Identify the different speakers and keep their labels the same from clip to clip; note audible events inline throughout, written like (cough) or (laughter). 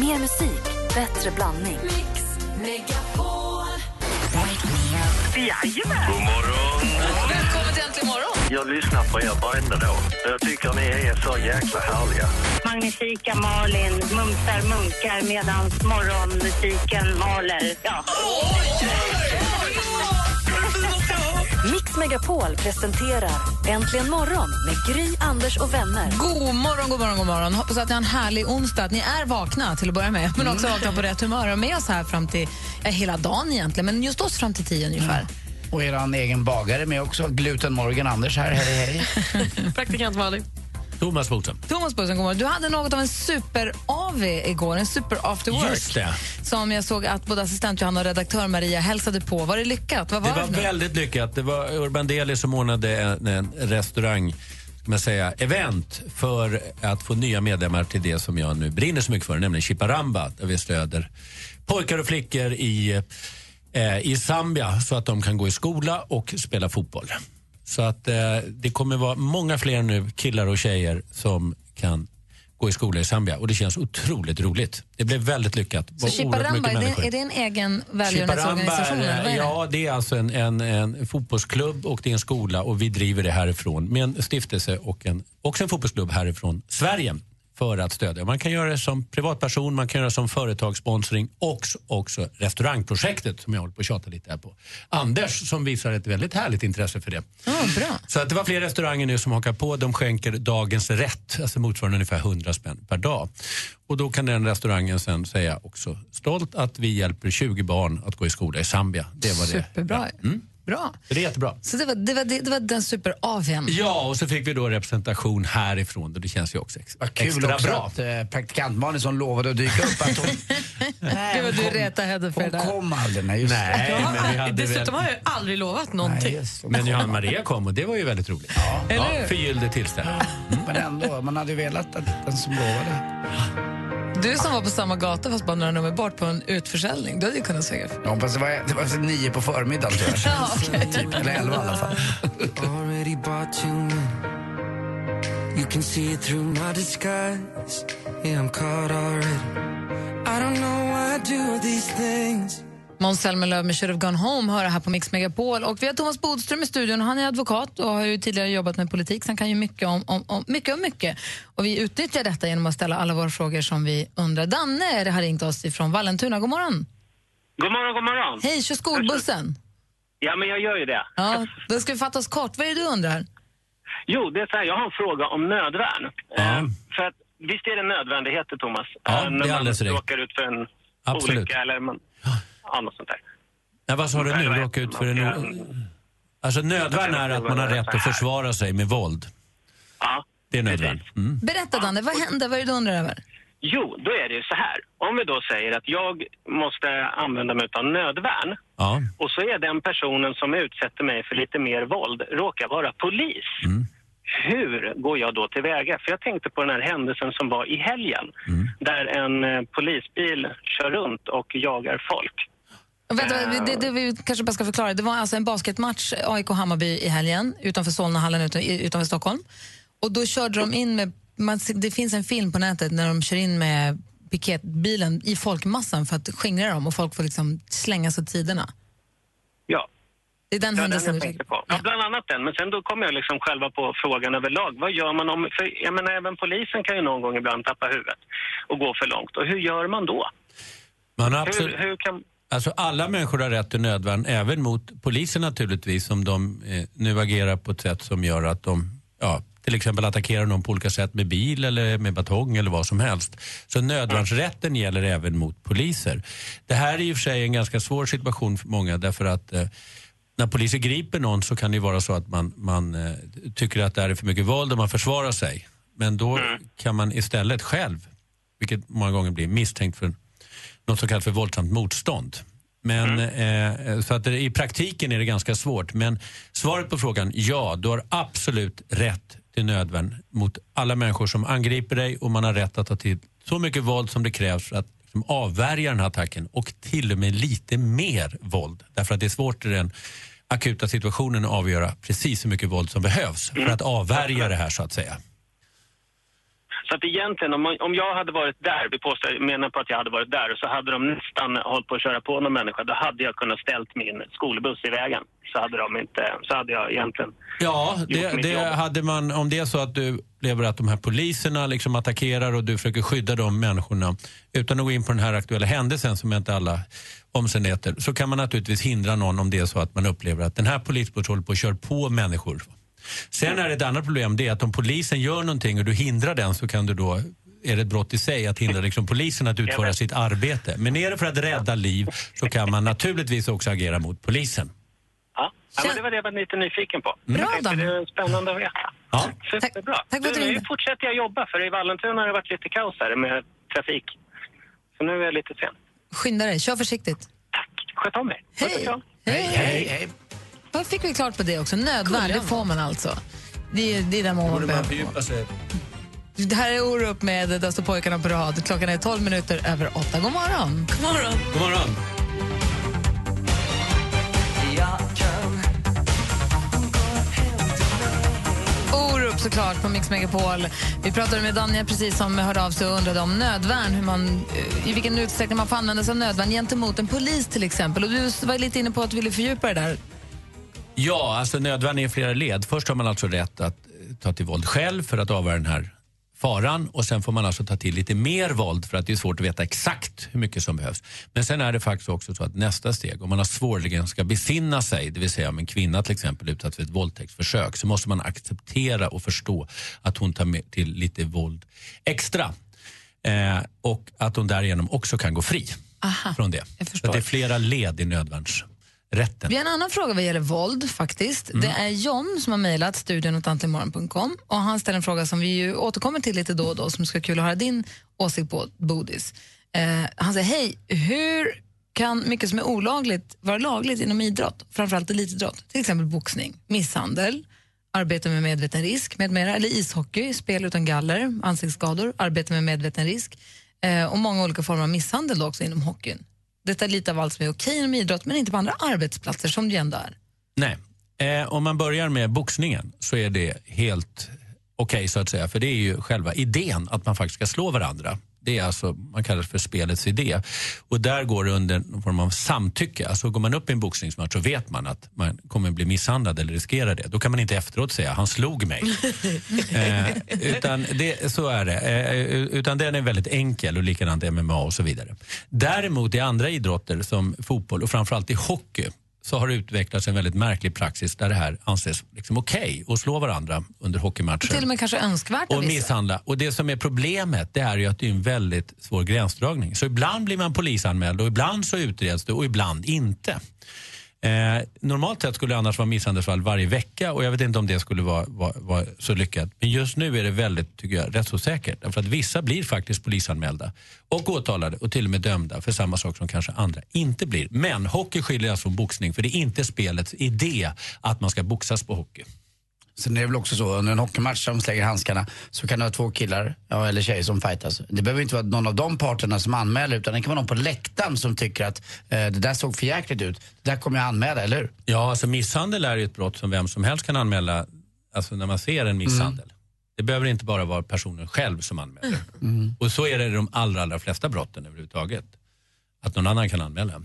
Speaker 1: Mer musik, bättre blandning.
Speaker 2: Mix Megapol.
Speaker 3: God morgon!
Speaker 2: Välkommen till Äntligen morgon.
Speaker 3: Jag lyssnar på er varenda dag. Jag tycker ni är så jäkla härliga.
Speaker 4: Magnifika Malin mumsar munkar medan morgonmusiken maler. Ja.
Speaker 1: Mix Megapol presenterar Äntligen morgon med Gry, Anders och vänner.
Speaker 2: God morgon, god morgon, god morgon. Hoppas att ni har en härlig onsdag, att ni är vakna till att börja med, men
Speaker 5: Mm.
Speaker 2: också vakna på rätt humör och med oss här fram till, ja, hela dagen egentligen, men just oss fram till tio ungefär.
Speaker 5: Mm.
Speaker 6: Och eran egen bagare med också. Gluten Morgan Anders här. Hej, hej.
Speaker 2: (laughs) Praktikant Malin.
Speaker 5: Thomas Bodström.
Speaker 2: Thomas Bussen, god morgon. Du hade något av en super-AV igår, en super-after work.
Speaker 5: Just det.
Speaker 2: Som jag såg att både assistent Johanna och redaktör Maria hälsade på. Var det lyckat? Vad var
Speaker 5: Det
Speaker 2: det,
Speaker 5: var
Speaker 2: för något?
Speaker 5: väldigt lyckat. Det var Urban Deli som ordnade en, en restaurang, ska man säga, event för att få nya medlemmar till det som jag nu brinner så mycket för, nämligen Chiparamba, där vi stöder pojkar och flickor i, eh, i Zambia så att de kan gå i skola och spela fotboll. Så att eh, det kommer vara många fler nu, killar och tjejer, som kan gå i skola i Zambia och det känns otroligt roligt. Det blev väldigt lyckat.
Speaker 2: Så
Speaker 5: Var oerhört
Speaker 2: Chiparamba,
Speaker 5: mycket
Speaker 2: är
Speaker 5: människor.
Speaker 2: det, är det en egen
Speaker 5: Chiparamba,
Speaker 2: välgörenhetsorganisation? eller vad är
Speaker 5: eh,
Speaker 2: det?
Speaker 5: ja det är alltså en, en, en fotbollsklubb och det är en skola och vi driver det härifrån med en stiftelse och en, också en fotbollsklubb härifrån Sverige för att stödja. Man kan göra det som privatperson, man kan göra det som företagssponsring och s- också restaurangprojektet som jag håller på att tjata lite här på. Anders som visar ett väldigt härligt intresse för det.
Speaker 2: Ja, bra.
Speaker 5: Så att det var fler restauranger nu som hakar på. De skänker dagens rätt, alltså motsvarande ungefär 100 spänn per dag. Och då kan den restaurangen sen säga också stolt att vi hjälper 20 barn att gå i skola i Zambia. Det var det.
Speaker 2: Superbra. Bra.
Speaker 5: Så det är jättebra.
Speaker 2: Så det var, det var, det, det var den super-AWn.
Speaker 5: Ja, och så fick vi då representation härifrån och det känns ju också ex-
Speaker 6: Vad kul
Speaker 5: extra
Speaker 6: också
Speaker 5: bra.
Speaker 6: att eh, praktikant Malin som lovade att dyka upp. Att hon,
Speaker 2: Det var
Speaker 6: nej,
Speaker 2: du
Speaker 6: hon,
Speaker 2: reta henne för
Speaker 6: kom,
Speaker 2: där.
Speaker 6: hon kom aldrig. Nej, just det.
Speaker 5: Nej, men
Speaker 2: (laughs)
Speaker 5: vi hade väl...
Speaker 7: Dessutom har jag aldrig lovat
Speaker 6: Nej,
Speaker 7: någonting.
Speaker 6: just det.
Speaker 5: Men Johanna Maria kom och det var ju väldigt roligt. Ja, förgyllde tillställning.
Speaker 6: Men ändå, man hade ju velat att den som lovade.
Speaker 2: Du som var på samma gata fast bara några nummer bort på en utförsäljning, du hade ju kunnat svänga förbi.
Speaker 6: Ja, fast det var, det var för nio på förmiddagen tror
Speaker 2: (laughs)
Speaker 6: jag.
Speaker 2: Ja, okej.
Speaker 6: Typ, eller elva i alla fall.
Speaker 8: already bought you in. You can see it through my disguise. Yeah, I'm caught already. I don't know why I do these things.
Speaker 2: Måns Zelmerlöw med Should have gone home hör här på Mix Megapol. Och vi har Thomas Bodström i studion. Han är advokat och har ju tidigare jobbat med politik så han kan ju mycket om, om, om, mycket, om mycket. Och vi utnyttjar detta genom att ställa alla våra frågor som vi undrar. Danne det har ringt oss ifrån Vallentuna. God morgon!
Speaker 9: God morgon, god morgon.
Speaker 2: Hej, kör skolbussen!
Speaker 9: Ja, men jag gör ju det.
Speaker 2: Ja, då ska vi fatta oss kort. Vad är det du undrar?
Speaker 9: Jo, det är så här, jag har en fråga om nödvärn.
Speaker 5: Ja.
Speaker 9: Eh, för att, visst är det nödvändigheter, Thomas?
Speaker 5: Ja,
Speaker 9: Eh,
Speaker 5: det är
Speaker 9: när man
Speaker 5: alldeles rätt.
Speaker 9: råkar ut för en
Speaker 5: Absolut.
Speaker 9: olycka eller man, ja, något sånt där.
Speaker 5: Nej, vad sa du nu? Råka ut för en... Alltså nödvärn är att man har rätt att försvara sig med våld.
Speaker 9: Ja.
Speaker 5: Det är nödvärn.
Speaker 9: precis.
Speaker 5: Mm.
Speaker 2: Berätta Danne, vad hände? Vad är det du undrar över?
Speaker 9: Jo, då är det ju så här. Om vi då säger att jag måste använda mig av nödvärn
Speaker 5: Ja.
Speaker 9: och så är den personen som utsätter mig för lite mer våld råkar vara polis. Hur går jag då tillväga? För jag tänkte på den här händelsen som var i helgen där en eh, polisbil kör runt och jagar folk.
Speaker 2: Vänta, det, det vi kanske bara ska förklara. Det var alltså en basketmatch, AIK-Hammarby i helgen, utanför Solnahallen utan, i- utanför Stockholm. Och då körde de in med, man, se- det finns en film på nätet när de kör in med piketbilen i folkmassan för att skingra dem och folk får liksom slänga sig åt sidorna.
Speaker 9: Ja,
Speaker 2: Det är den
Speaker 9: det var den
Speaker 2: händelsen
Speaker 9: jag
Speaker 2: du
Speaker 9: tänkte på. Ja, bland annat den. Men sen då kom jag liksom själva på frågan överlag. Vad gör man om... För jag menar, även polisen kan ju någon gång ibland tappa huvudet och gå för långt. Och hur gör man då?
Speaker 5: Man har absolut...
Speaker 9: Hur, hur kan...
Speaker 5: Alltså alla människor har rätt till nödvärn, även mot polisen naturligtvis, som de eh, nu agerar på ett sätt som gör att de ja, till exempel attackerar någon på olika sätt med bil eller med batong eller vad som helst. Så nödvärnsrätten gäller även mot poliser. Det här är i och för sig en ganska svår situation för många därför att eh, när poliser griper någon så kan det ju vara så att man, man eh, tycker att det här är för mycket våld och man försvarar sig. Men då kan man istället själv, vilket många gånger blir misstänkt för något som kallas för våldsamt motstånd. Men, eh, så att det, i praktiken är det ganska svårt. Men svaret på frågan, ja, du har absolut rätt till nödvärn mot alla människor som angriper dig och man har rätt att ta till så mycket våld som det krävs för att liksom, avvärja den här attacken och till och med lite mer våld. Därför att det är svårt i den akuta situationen att avgöra precis hur mycket våld som behövs för att avvärja det här så att säga.
Speaker 9: Så att egentligen, om, om jag hade varit där, vi påstår, menar på att jag hade varit där, så hade de nästan hållit på att köra på någon människa. Då hade jag kunnat ställt min skolbuss i vägen. Så hade de inte, så hade jag egentligen...
Speaker 5: Ja,
Speaker 9: Gjort
Speaker 5: det,
Speaker 9: mitt
Speaker 5: det
Speaker 9: jobb.
Speaker 5: hade man, om det är så att du upplever att de här poliserna liksom attackerar och du försöker skydda de människorna utan att gå in på den här aktuella händelsen som jag inte alla omständigheter så kan man naturligtvis hindra någon om det är så att man upplever att den här polisbåten håller på och kör på människor. Sen är det ett annat problem, det är att om polisen gör någonting och du hindrar den så kan du då är det ett brott i sig att hindra liksom polisen att utföra sitt arbete. Men är det för att rädda liv så kan man naturligtvis också agera mot polisen.
Speaker 9: Ja. Ja,
Speaker 2: Kän-
Speaker 9: men det var det jag var lite nyfiken på.
Speaker 2: Bra,
Speaker 9: Jag tänkte,
Speaker 2: Daniel.
Speaker 9: Det är spännande att veta.
Speaker 5: Ja.
Speaker 9: Superbra.
Speaker 2: Tack- tack för att du
Speaker 9: du, nu
Speaker 2: ringde.
Speaker 9: fortsätter jag jobba, för i Vallentuna har det varit lite kaos här med trafik. Så nu är jag lite sen.
Speaker 2: Skynda dig, kör försiktigt.
Speaker 9: Tack. Sköt om er. Puss och
Speaker 2: Hej!
Speaker 9: kram.
Speaker 2: Hej.
Speaker 6: Hej, hej.
Speaker 2: Vad fick vi klart på det också? Nödvärn, det får man alltså. Det är, det är där man behöver få.
Speaker 5: sig.
Speaker 2: Det här är Orup med Där står pojkarna på rad. Klockan är 12 minuter över 8. God morgon!
Speaker 1: God morgon.
Speaker 5: God morgon.
Speaker 2: Orup såklart på Mix Megapol. Vi pratade med Daniel precis som hörde av sig och undrade om nödvärn. Hur man, eh, I vilken utsträckning man får använda sig av nödvärn gentemot en polis till exempel. Och du var lite inne på att du ville fördjupa det där.
Speaker 5: Ja, alltså nödvärn är i flera led. Först har man alltså rätt att eh, ta till våld själv för att avvärja den här faran och sen får man alltså ta till lite mer våld för att det är svårt att veta exakt hur mycket som behövs. Men sen är det faktiskt också så att nästa steg, om man har svårligen ska besinna sig, det vill säga om en kvinna till exempel utsatt för ett våldtäktsförsök, så måste man acceptera och förstå att hon tar med till lite våld extra. Eh, och att hon därigenom också kan gå fri från det.
Speaker 2: jag
Speaker 5: så
Speaker 2: förstår.
Speaker 5: att det är flera led i nödvärnsrätten.
Speaker 2: Vi har en annan fråga vad gäller våld faktiskt. Det är John som har mejlat studion åt antimorgon.com och han ställer en fråga som vi ju återkommer till lite då och då som ska vara kul att höra din åsikt på, Bodis. Eh, han säger, hej, hur kan mycket som är olagligt vara lagligt inom idrott, framförallt elitidrott, till exempel boxning, misshandel, arbete med medveten risk med mera, eller ishockey, spel utan galler, ansiktsskador, arbete med medveten risk eh, och många olika former av misshandel då också inom hockeyn. Detta är lite av allt som är okej inom idrott men inte på andra arbetsplatser som det ju ändå är.
Speaker 5: Nej. Eh, om man börjar med boxningen så är det helt okej så att säga. För det är ju själva idén att man faktiskt ska slå varandra. Det är alltså, man kallar det för spelets idé. Och där går det under någon form av samtycke. Alltså går man upp i en boxningsmatch så vet man att man kommer bli misshandlad eller riskerar det. Då kan man inte efteråt säga han slog mig. Eh, utan det, så är det. Eh, utan den är väldigt enkel och likadant MMA och så vidare. Däremot i andra idrotter som fotboll och framförallt i hockey så har det utvecklats en väldigt märklig praxis där det här anses liksom okej att slå varandra under hockeymatcher.
Speaker 2: Till och med kanske önskvärt av
Speaker 5: Och
Speaker 2: vissa.
Speaker 5: misshandla. Och det som är problemet det är ju att det är en väldigt svår gränsdragning. Så ibland blir man polisanmäld och ibland så utreds det och ibland inte. Eh, normalt sett skulle det annars vara misshandelsfall varje vecka och jag vet inte om det skulle vara, vara, vara så lyckat. Men just nu är det väldigt, tycker jag, rättsosäkert. Därför att vissa blir faktiskt polisanmälda och åtalade och till och med dömda för samma sak som kanske andra inte blir. Men hockey skiljer sig från boxning för det är inte spelets idé att man ska boxas på hockey.
Speaker 6: Sen är det väl också så, under en hockeymatch där de slänger handskarna så kan det vara två killar, ja, eller tjejer som fightas. Det behöver inte vara någon av de parterna som anmäler utan det kan vara någon på läktaren som tycker att eh, det där såg för jäkligt ut. Det där kommer jag anmäla, eller hur?
Speaker 5: Ja, alltså misshandel är ju ett brott som vem som helst kan anmäla alltså när man ser en misshandel. Det behöver inte bara vara personen själv som anmäler. Och så är det i de allra, allra flesta brotten överhuvudtaget. Att någon annan kan anmäla.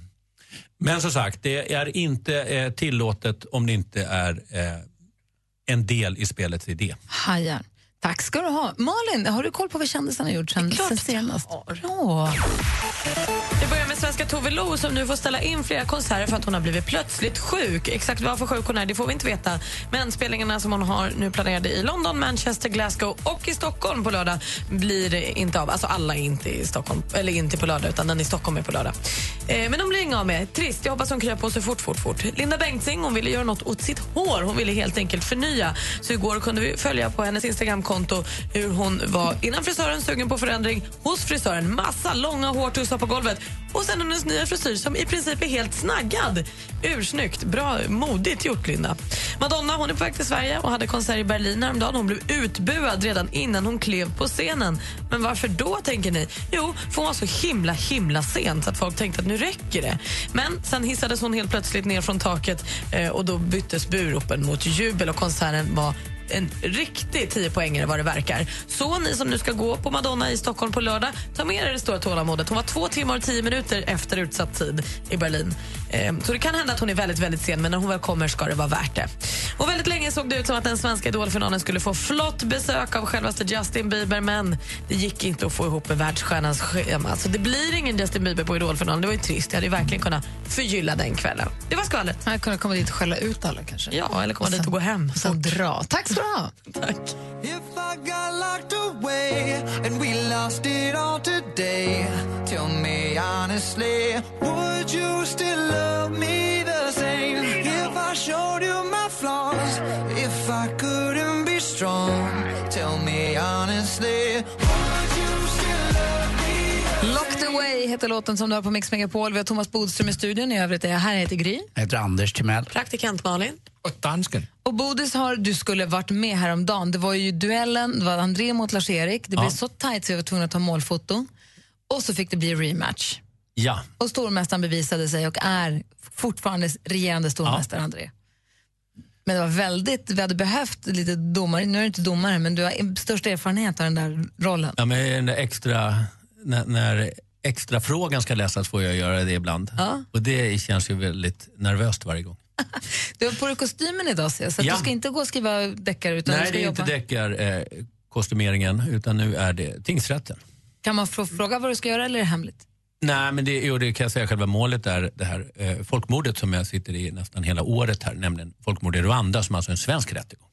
Speaker 5: Men som sagt, det är inte eh, tillåtet om det inte är eh, en del i spelets idé.
Speaker 2: Hajar. Tack ska du ha. Malin, har du koll på vad kändisarna har gjort sen, sen
Speaker 7: klart att jag
Speaker 2: senast?
Speaker 7: har.
Speaker 2: Bra.
Speaker 7: Vi börjar med svenska Tove Lo som nu får ställa in flera konserter för att hon har blivit plötsligt sjuk. Exakt varför sjuk hon är det får vi inte veta. Men spelningarna som hon har nu planerade i London, Manchester, Glasgow och i Stockholm på lördag blir inte av. Alltså alla är inte i Stockholm, eller inte på lördag utan den i Stockholm är på lördag. Eh, men de blir inga av med. Trist, jag hoppas hon kryar på sig fort, fort, fort. Linda Bengtzing hon ville göra något åt sitt hår. Hon ville helt enkelt förnya. Så igår kunde vi följa på hennes Instagramkonto hur hon var innan frisören sugen på förändring, hos frisören, massa långa hårtussar på golvet och sen hennes nya frisyr som i princip är helt snaggad. Ursnyggt, bra, modigt gjort Linda. Madonna hon är på väg till Sverige och hade konsert i Berlin häromdagen. Hon blev utbuad redan innan hon klev på scenen. Men varför då tänker ni? Jo, för hon var så himla himla sen så att folk tänkte att nu räcker det. Men sen hissades hon helt plötsligt ner från taket eh, och då byttes buropen mot jubel och konserten var en riktig 10 poängare vad det verkar. Så ni som nu ska gå på Madonna i Stockholm på lördag, ta med er det stora tålamodet. Hon var två timmar och tio minuter efter utsatt tid i Berlin. Ehm, Så det kan hända att hon är väldigt, väldigt sen, men när hon väl kommer ska det vara värt det. Och väldigt länge såg det ut som att den svenska idolfinalen skulle få flott besök av självaste Justin Bieber, men det gick inte att få ihop med världsstjärnans schema. Så det blir ingen Justin Bieber på idolfinalen. Det var ju trist. Jag hade ju verkligen kunnat förgylla den kvällen. Det var skvallret.
Speaker 2: Man kunde komma dit och skälla ut alla kanske.
Speaker 7: Ja, eller komma
Speaker 2: Och
Speaker 7: dit och gå hem.
Speaker 2: Och sen dra. (laughs) Tack ska du ha.
Speaker 7: Tack.
Speaker 8: If I got locked away and we lost it all today, tell me honestly, would you still love me the same? If I showed you my flaws, if I couldn't be strong, tell me honestly, would you still love me?
Speaker 2: Locked Away heter låten som du har på Mix Megapol. Vi har Thomas Bodström i studion. I övrigt är jag här. Jag heter Gry.
Speaker 6: Jag heter Anders Timell.
Speaker 7: Praktikant Malin.
Speaker 2: Och Bodis har, du skulle varit med häromdagen. Det var ju duellen, det var André mot Lars-Erik. Det blev så tajt så jag var tvungen att ta målfoto. Och så fick det bli rematch.
Speaker 5: Ja.
Speaker 2: Och stormästaren bevisade sig och är fortfarande regerande stormästare, André. Men det var väldigt, vi hade behövt lite domare, nu är du inte domare, men du har störst erfarenhet av den där rollen.
Speaker 5: ja men den där extra, när, när extra frågan ska läsas får jag göra det ibland.
Speaker 2: Ja.
Speaker 5: Och det känns ju väldigt nervöst varje gång.
Speaker 2: Du har på dig kostymen idag ser jag, så att
Speaker 5: Ja.
Speaker 2: du ska inte gå och skriva deckare utan du
Speaker 5: Nej,
Speaker 2: ska
Speaker 5: det är
Speaker 2: jobba.
Speaker 5: inte deckarkostymeringen eh, utan nu är det tingsrätten.
Speaker 2: Kan man få fråga vad du ska göra eller är det hemligt?
Speaker 5: Nej, men det, jo, det kan jag säga, själva målet är det här eh, folkmordet som jag sitter i nästan hela året här, nämligen folkmord i Rwanda som alltså är en svensk rättegång.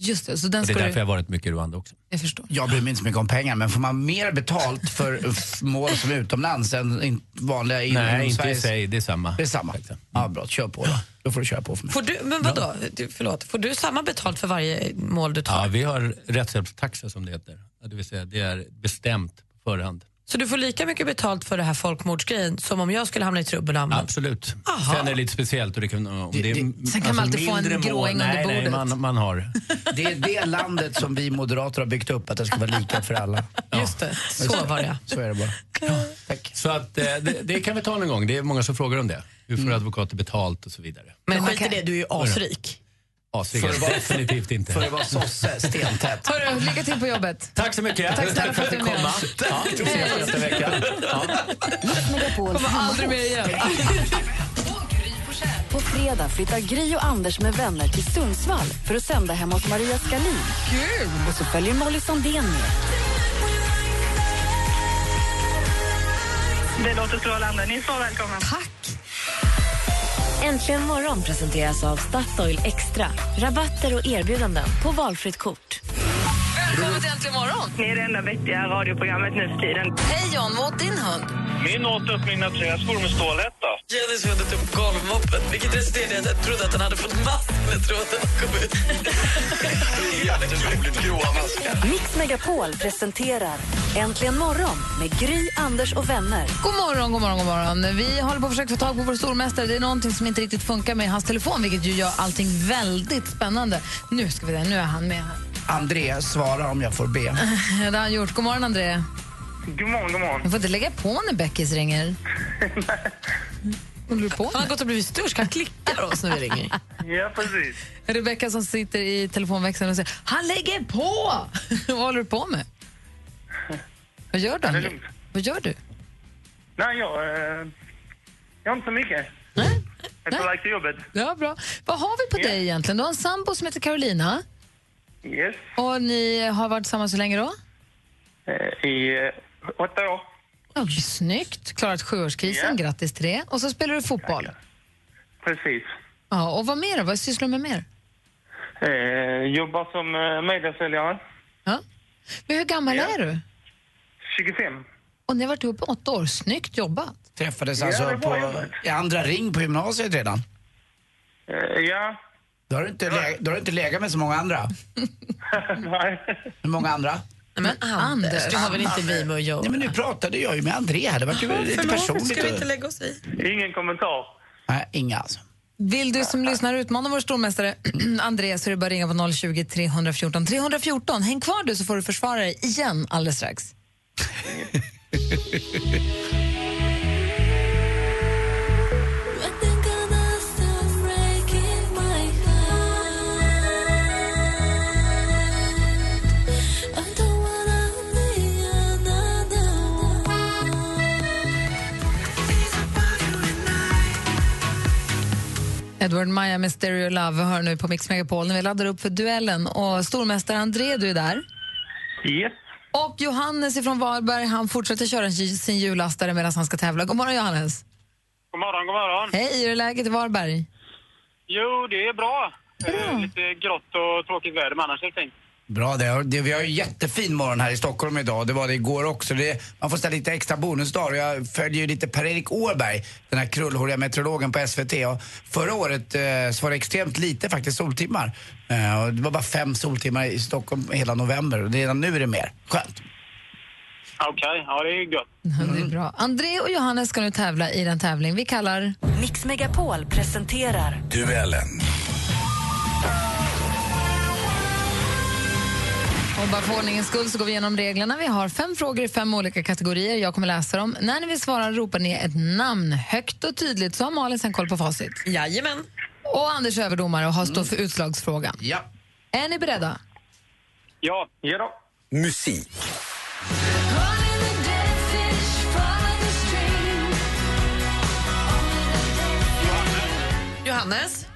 Speaker 2: Just det, så den
Speaker 5: Och det är
Speaker 2: ska
Speaker 5: därför
Speaker 2: du...
Speaker 5: jag har varit mycket i Rwanda också.
Speaker 2: Jag förstår.
Speaker 6: Jag bryr mig inte så mycket om pengar, men får man mer betalt för
Speaker 5: (laughs)
Speaker 6: f- mål som är utomlands än in- vanliga inom
Speaker 5: Nej, inte i
Speaker 6: Sveriges-
Speaker 5: sig, det är samma.
Speaker 6: Det är samma. Ja, bra. Kör på då. Då får du köra på för mig.
Speaker 7: Får du, men vadå? Du, förlåt. Får du samma betalt för varje mål du tar?
Speaker 5: Ja, vi har rättshjälpstaxa som det heter. Ja, Det vill säga, det är bestämt på förhand.
Speaker 7: Så du får lika mycket betalt för det här folkmordsgrejen som om jag skulle hamna i trubbel och hamna.
Speaker 5: Absolut.
Speaker 7: Aha.
Speaker 5: Sen är det lite speciellt. Och det kan, om det, alltså
Speaker 6: Det- det-
Speaker 2: Sen kan man alltid få en
Speaker 5: mindre mål-
Speaker 2: gråing under
Speaker 5: nej, Nej,
Speaker 2: bordet.
Speaker 5: man, man har.
Speaker 6: Det är det landet som vi moderater har byggt upp, att det ska vara lika för alla.
Speaker 7: Just det, så var det
Speaker 6: Så är det bara. tack.
Speaker 5: Så att, eh, det, det kan vi ta någon gång. Det är många som frågar om det. Hur
Speaker 2: Mm.
Speaker 5: får advokater betalt och så vidare.
Speaker 7: Men
Speaker 2: man
Speaker 7: skit i
Speaker 2: kan-
Speaker 7: det, du är ju asrik.
Speaker 5: Asvig
Speaker 6: Får det vara-
Speaker 5: definitivt
Speaker 6: För det
Speaker 5: inte.
Speaker 6: var sosse,
Speaker 2: (laughs)
Speaker 6: stentätt.
Speaker 2: Hörru, lycka till på jobbet.
Speaker 5: Tack så mycket.
Speaker 2: Tack snälla för att du är med
Speaker 5: komma.
Speaker 2: oss.
Speaker 5: Ja, vi ses nästa vecka.
Speaker 1: Mix Megapol
Speaker 2: Kommer aldrig mer (laughs) igen.
Speaker 1: På fredag flyttar Gry och Anders med vänner till Sundsvall för att sända hemma hos Maria Skalin. Kul! Och så följer Molly Sandén med.
Speaker 4: Det låter strålande. Ni är så välkomna.
Speaker 1: Äntligen morgon presenteras av Statoil Extra. Rabatter och erbjudanden på valfritt kort.
Speaker 2: Välkommen till Äntligen morgon.
Speaker 4: Ni är det enda vettiga radioprogrammet nu för tiden.
Speaker 2: Hej John, vad åt din hund?
Speaker 3: Min åt upp mina träskor med stålhätta.
Speaker 10: Jenny svindlat upp golvmoppen, vilket resulterade i att jag trodde att den hade fått mask när tråden kom ut.
Speaker 3: Otroligt gråa maskar.
Speaker 1: Mix Megapol presenterar Äntligen morgon med Gry, Anders och vänner.
Speaker 2: God morgon, god morgon, god morgon. Vi håller på att försöka få tag på vår stormästare. Det är någonting som inte riktigt funkar med hans telefon, vilket ju gör allting väldigt spännande. Nu ska vi där, nu är han med (laughs) här.
Speaker 6: André, svara om jag får be.
Speaker 2: Ja, det har han gjort. God morgon, André.
Speaker 9: God morgon, god morgon.
Speaker 2: Du får inte lägga på när Beckis
Speaker 7: (laughs)
Speaker 2: ringer. Håller du på
Speaker 7: Han har
Speaker 2: med?
Speaker 7: gått och blivit störst, han klickar oss när vi ringer.
Speaker 9: Ja, precis.
Speaker 2: Rebecka som sitter i telefonväxeln och säger Han lägger på! (laughs) Vad håller du på
Speaker 9: (laughs)
Speaker 2: med? Vad gör du,
Speaker 9: är
Speaker 2: André?
Speaker 9: lugnt.
Speaker 2: Vad gör du?
Speaker 9: Nej, jag... Eh, jag har inte så mycket.
Speaker 2: Nej?
Speaker 9: Jag är på väg till jobbet.
Speaker 2: Ja, bra. Vad har vi på dig egentligen? Du har en sambo som heter Carolina.
Speaker 9: Yes.
Speaker 2: Och ni har varit tillsammans så länge då?
Speaker 9: Eh, I eh, åtta år.
Speaker 2: Ja, snyggt. Klarat sjuårskrisen.
Speaker 9: Ja.
Speaker 2: Grattis till det. Och så spelar du fotboll.
Speaker 9: Precis.
Speaker 2: Ja, och vad mer då? Vad sysslar du med mer?
Speaker 9: Eh, jobbar som eh, mediasäljare.
Speaker 2: Ja. Men hur gammal
Speaker 9: Ja.
Speaker 2: är du?
Speaker 9: 25.
Speaker 2: Och ni har varit ihop i åtta år. Snyggt jobbat.
Speaker 6: Träffades
Speaker 9: Ja, det
Speaker 6: alltså
Speaker 9: var
Speaker 6: på,
Speaker 9: jobbigt.
Speaker 6: i andra ring på gymnasiet redan.
Speaker 9: Eh, ja.
Speaker 6: Då har du inte, lä- då har du inte legat med så många andra.
Speaker 9: (laughs) Nej.
Speaker 6: Hur många andra?
Speaker 7: Nej, men Anders, det har väl inte vi med att göra?
Speaker 6: Nej men nu pratade jag ju med André här, det var ju lite personligt.
Speaker 7: lägga oss i?
Speaker 9: Ingen kommentar.
Speaker 6: Nej, inga alltså.
Speaker 2: Vill du som lyssnar utmana vår stormästare (clears throat) Andreas så är det bara att ringa på 020 314 314. Häng kvar du så får du försvara dig igen alldeles strax. Edward Maja med Stereo Love hör nu på Mix Megapol när vi laddar upp för duellen. Och stormästare André, du är där.
Speaker 9: Yes.
Speaker 2: Och Johannes ifrån Varberg, han fortsätter köra sin hjullastare medan han ska tävla. God morgon Johannes!
Speaker 9: God morgon, god morgon.
Speaker 2: Hej, hur är läget i Varberg?
Speaker 9: Jo, det är bra. Eh, lite grått och tråkigt väder, men annars är det fint.
Speaker 6: Bra det. Och det. Vi har ju jättefin morgon här i Stockholm idag. Det var det igår också. Det, man får ställa lite extra bonusdagar. Jag följer ju lite Per-Erik Årberg, den här krullhåriga meteorologen på SVT. Och förra året eh, så var det extremt lite faktiskt soltimmar. Eh, och det var bara fem soltimmar i Stockholm hela november. Och Redan nu är det mer. Skönt.
Speaker 9: Ah, Okej, ja det är ju gött.
Speaker 2: Ja, Det är bra. André och Johannes ska nu tävla i den tävling vi kallar...
Speaker 1: Mix Megapol presenterar
Speaker 11: Duellen.
Speaker 2: Och bara för ordningens skull så går vi igenom reglerna. Vi har fem frågor i fem olika kategorier. Jag kommer läsa dem. När ni vill svara ropar ni ett namn högt och tydligt så har Malin sen koll på facit.
Speaker 7: Jajamän.
Speaker 2: Och Anders överdomare och har stå för utslagsfrågan.
Speaker 6: Ja.
Speaker 2: Är ni beredda?
Speaker 9: Ja, ja då.
Speaker 11: Musik.
Speaker 7: Johannes,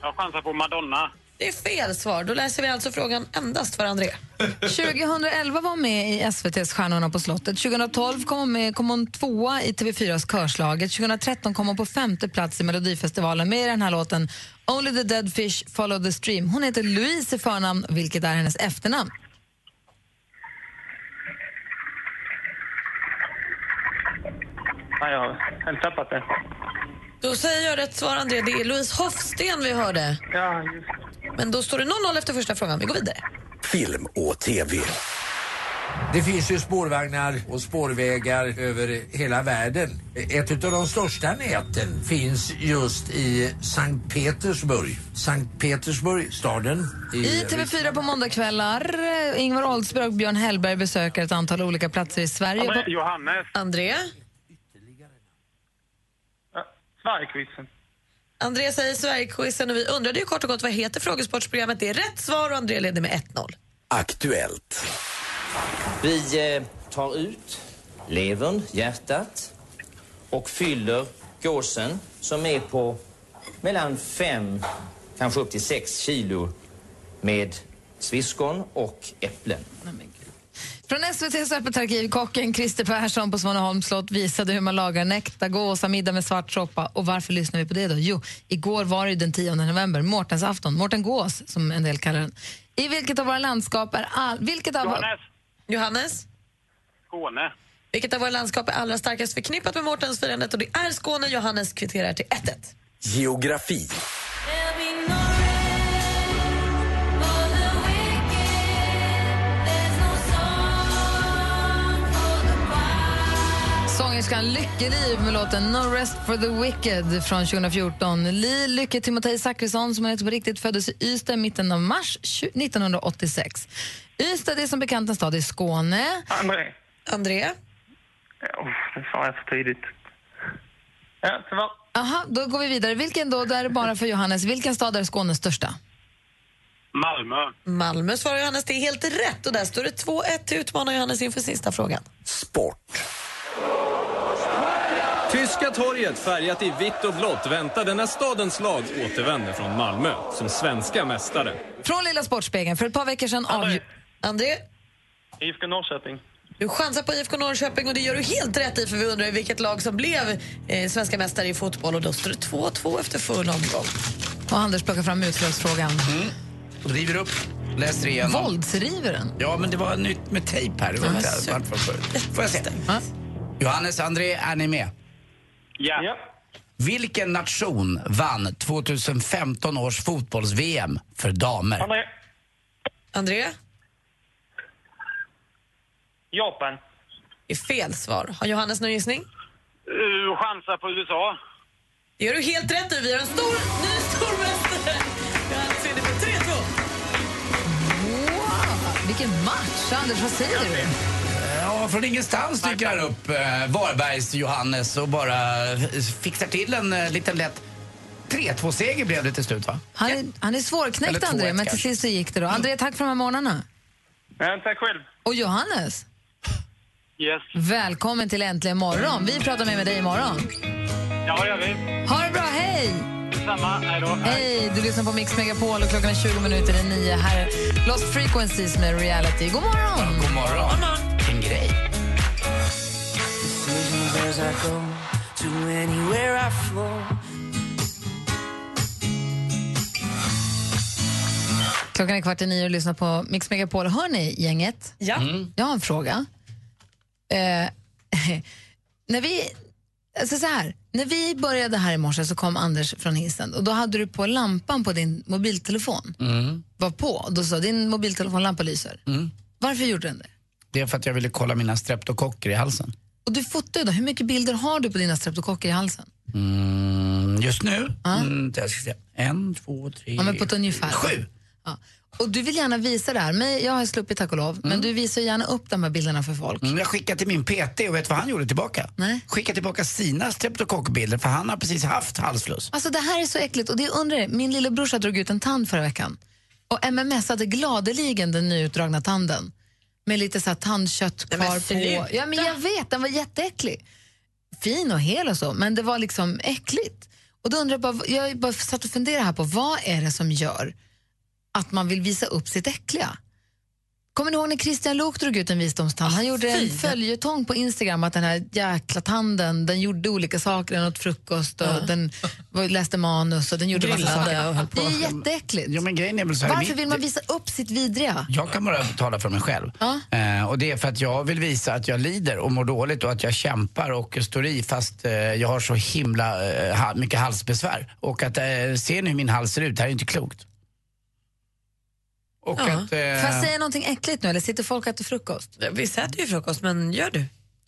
Speaker 9: Jag chansar på Madonna.
Speaker 7: det är fel svar. Då läser vi alltså frågan endast för André.
Speaker 2: 2011 var hon med i SVTs Stjärnorna på slottet. 2012 kom hon, med, kom hon tvåa i TV4s Körslaget. 2013 kom hon på femte plats i Melodifestivalen med den här låten Only the dead fish follow the stream. Hon heter Louise i förnamn, vilket är hennes efternamn.
Speaker 9: Ja, jag har helt tappat det.
Speaker 7: Då säger jag rätt svar André, det är Louise Hofsten vi hörde.
Speaker 9: Ja, just
Speaker 7: Men då står det 0-0 efter första frågan. Vi går vidare.
Speaker 11: Film och TV.
Speaker 12: Det finns ju spårvagnar och spårvägar över hela världen. Ett av de största näten finns just i Sankt Petersburg. Sankt Petersburg, staden
Speaker 2: I TV4 på måndagskvällar. Ingvar Oldsberg och Björn Hellberg besöker ett antal olika platser i Sverige.
Speaker 9: Ja,
Speaker 2: På-
Speaker 9: men, Johannes.
Speaker 7: André?
Speaker 9: Ja, Sverigequizen.
Speaker 7: André säger Sverigequizen och vi undrade ju kort och gott vad heter frågesportsprogrammet. Det är rätt svar och André leder med 1-0.
Speaker 11: Aktuellt.
Speaker 10: Vi eh, tar ut levern, hjärtat och fyller gåsen som är på mellan 5, kanske upp till 6 kilo med sviskon och äpplen.
Speaker 2: Från SVTs Öppet arkiv, kocken Christer Persson på Svaneholms slott visade hur man lagar nektagås, middag med svart soppa. Och varför lyssnar vi på det då? Jo, igår var det ju den 10 november, Mårtens afton, Mårten Gås som en del kallar den. I vilket av våra landskap är all... vilket av...
Speaker 9: Johannes.
Speaker 7: Johannes?
Speaker 9: Skåne.
Speaker 7: Vilket av våra landskap är allra starkast förknippat med Mårtensfirandet? Och det är Skåne. Johannes kvitterar till 1-1.
Speaker 11: Geografi.
Speaker 2: Sångerskan Lykke Liv med låten No Rest for the Wicked från 2014. Li Lykke Timotej Zachrisson, som han heter på riktigt, föddes i Ystad i mitten av mars 20- 1986. Ystad är som bekant en stad i Skåne.
Speaker 9: André.
Speaker 7: André?
Speaker 9: Ja, uff, det sa jag för tidigt. Ja, tyvärr.
Speaker 2: Aha, då går vi vidare. Vilken då? Där är bara för Johannes. Vilken stad är Skånes största?
Speaker 9: Malmö.
Speaker 7: Malmö svarar Johannes. Det är helt rätt och där står det 2-1 till utmanar Johannes inför sista frågan.
Speaker 11: Sport.
Speaker 12: Tyska torget färgat i vitt och blått väntade när stadens lag återvände från Malmö som svenska mästare.
Speaker 2: Från Lilla Sportspegeln. För ett par veckor sedan avgj...
Speaker 7: André,
Speaker 9: IFK Norrköping.
Speaker 7: du chansar på IFK Norrköping och det gör du helt rätt i för vi undrar ju vilket lag som blev eh, svenska mästare i fotboll och då står det 2-2 efter full omgång.
Speaker 2: Och Anders plockar fram utslagsfrågan.
Speaker 6: River upp, läser igenom.
Speaker 2: Våldsriver den?
Speaker 6: Ja, men det var nytt med tejp här. Det var inte varför förut. Får jag se?
Speaker 2: Ja.
Speaker 6: Johannes, André, är ni med?
Speaker 9: Ja. ja.
Speaker 6: Vilken nation vann 2015 års fotbolls-VM för damer?
Speaker 9: André.
Speaker 7: André,
Speaker 9: Japan.
Speaker 7: det är fel svar. Har Johannes någon gissning?
Speaker 9: Uh, chansar på USA.
Speaker 7: Det gör du helt rätt i. Vi har en stor, ny stormästare. Johannes vinner med 3-2.
Speaker 2: Wow, vilken match! Anders, vad säger du?
Speaker 6: Ja, från ingenstans dyker han upp, eh, Varbergs Johannes, och bara eh, fixar till en eh, liten lätt 3-2-seger blev det till slut, va?
Speaker 2: Han är, han är
Speaker 6: Eller
Speaker 2: svårknäckt,
Speaker 6: 2-1
Speaker 2: André, men till
Speaker 6: kanske.
Speaker 2: sist så gick det. då. André, tack för de här morgnarna.
Speaker 9: Ja, tack själv.
Speaker 2: Och Johannes,
Speaker 9: Yes.
Speaker 2: välkommen till Äntligen morgon. Vi pratar mer med dig imorgon.
Speaker 9: Ja, det gör vi.
Speaker 2: Ha det bra, hej!
Speaker 9: Detsamma, hej då.
Speaker 2: Hej, du lyssnar på Mix Megapol och klockan är 20 minuter i nio. Här är Lost Frequencies med Reality. God morgon!
Speaker 6: God morgon. En grej.
Speaker 13: Decisions as I go to anywhere I flow.
Speaker 2: Klockan är kvart i nio och lyssnar på Mix Megapol. Hör ni gänget? Ja.
Speaker 6: Mm.
Speaker 2: Jag har en fråga. Eh, (laughs) när vi... Alltså så här, när vi började här i morse så kom Anders från hissen och då hade du på lampan på din mobiltelefon.
Speaker 6: Mm.
Speaker 2: Var på. Då sa din mobiltelefonlampa lyser. Varför gjorde den det?
Speaker 6: Det är för att jag ville kolla mina streptokocker i halsen.
Speaker 2: Och du fotade då. Hur mycket bilder har du på dina streptokocker i halsen?
Speaker 6: Mm, just nu? Mm, jag ska se. En, två, tre...
Speaker 2: Ja, men på ett ungefär.
Speaker 6: Sju!
Speaker 2: Ja. Och du vill gärna visa det här. Men jag har sluppit tack och lov. Men du visar gärna upp de här bilderna för folk.
Speaker 6: Mm, jag skickade till min PT och vet vad han gjorde tillbaka? Nej. Skickade tillbaka sina streptokockbilder för han har precis haft halsfluss.
Speaker 2: Alltså det här är så äckligt och det jag undrar är, min lillebrorsa drog ut en tand förra veckan och MMSade gladeligen den nyutdragna tanden med lite så här tandkött
Speaker 7: Nej, men
Speaker 2: kvar på.
Speaker 7: sluta.
Speaker 2: Ja men jag vet, den var jätteäcklig. Fin och hel och så, men det var liksom äckligt. Och då undrar jag bara, jag bara satt och funderade här på vad är det som gör att man vill visa upp sitt äckliga? Kommer ni ihåg när Christian Lok drog ut en visdomstand? Han gjorde en följetong på Instagram att den här jäkla tanden, den gjorde olika saker, den åt frukost och den var, läste manus och den gjorde massa
Speaker 6: Grillade
Speaker 2: saker.
Speaker 6: och höll på.
Speaker 2: Det är jätteäckligt.
Speaker 6: Ja, men grejen är väl så här,
Speaker 2: Varför
Speaker 6: mitt-
Speaker 2: vill man visa upp sitt vidriga?
Speaker 6: Jag kan bara tala för mig själv.
Speaker 2: Ja.
Speaker 6: Eh, och det är för att jag vill visa att jag lider och mår dåligt och att jag kämpar och står i fast eh, jag har så himla eh, ha, mycket halsbesvär. Och att, eh, ser ni hur min hals ser ut? Det här är ju inte klokt. Och
Speaker 7: Ja.
Speaker 6: att... eh,
Speaker 2: Får jag säga någonting äckligt nu eller sitter folk och äter frukost?
Speaker 7: Visst äter ju frukost, men gör du?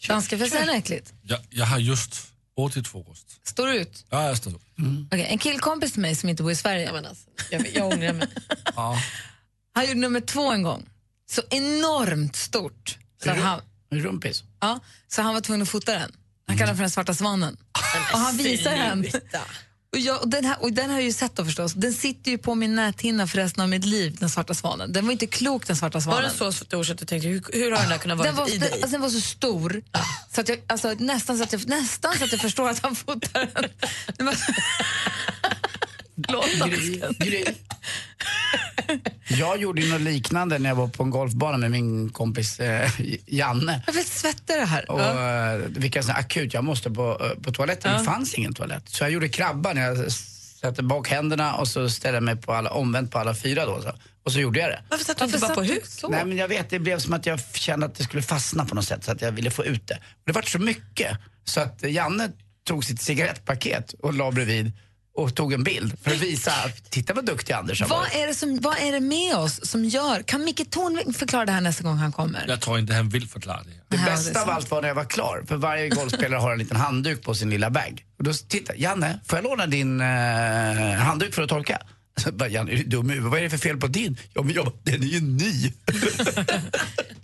Speaker 2: Danska, får jag säga något äckligt?
Speaker 14: Jag, jag har just åtit frukost.
Speaker 2: Står du ut?
Speaker 14: Ja, jag står upp.
Speaker 2: Okej, en killkompis till mig som inte bor i Sverige. jag, jag ångrar mig.
Speaker 14: Ja.
Speaker 2: Han gjorde nummer två en gång. Så enormt stort. Så
Speaker 6: Rum-
Speaker 2: han,
Speaker 6: Rumpis.
Speaker 2: ja, så han var tvungen att fota den. Han kallar den för den svarta svanen. Och han visar den. Och, jag, och, den här, och den har jag ju sett då förstås. Den sitter ju på min näthinna för resten av mitt liv, den svarta svanen. Den var inte klok den svarta svanen.
Speaker 7: Var den så stor så att du tänkte, hur, hur har den där kunnat vara
Speaker 2: den var,
Speaker 7: i
Speaker 2: den,
Speaker 7: dig?
Speaker 2: alltså, den var så stor så att jag, alltså, nästan, så att jag, nästan så att jag förstår att han fotar den. Det var- Förlåt,
Speaker 6: Gry, gry. Jag gjorde ju något liknande när jag var på en golfbana med min kompis eh, Janne.
Speaker 2: Varför svettar det här?
Speaker 6: Och, ja. Vilka sån här akut, jag måste på, eh, på toaletten.
Speaker 2: Ja.
Speaker 6: Det fanns ingen toalett. Så jag gjorde krabban. Jag s- satte bak händerna och så ställde jag mig på alla, omvänt på alla fyra då. Så. Och så gjorde jag det.
Speaker 7: Varför satt du inte bara på huk?
Speaker 6: Nej men jag vet, det blev som att jag kände att det skulle fastna på något sätt så att jag ville få ut det. Och det vart så mycket så att Janne tog sitt cigarettpaket och la bredvid och tog en bild för att visa, att, titta vad duktig Anders har
Speaker 2: Vad
Speaker 6: varit.
Speaker 2: är, det som, vad är det med oss som gör... Kan Micke Tornving förklara det här nästa gång han kommer?
Speaker 14: Jag tror inte han vill förklara det.
Speaker 6: Det
Speaker 2: Ja, det är
Speaker 6: bästa av
Speaker 2: sant.
Speaker 6: allt var när jag var klar, för varje golfspelare har en liten handduk på sin lilla bag. Och då s- titta, Janne, får jag låna din eh, handduk för att torka? Så bara, Janne, är du dum i huvudet? Vad är det för fel på din? Ja, men jag, bara, den är ju ny.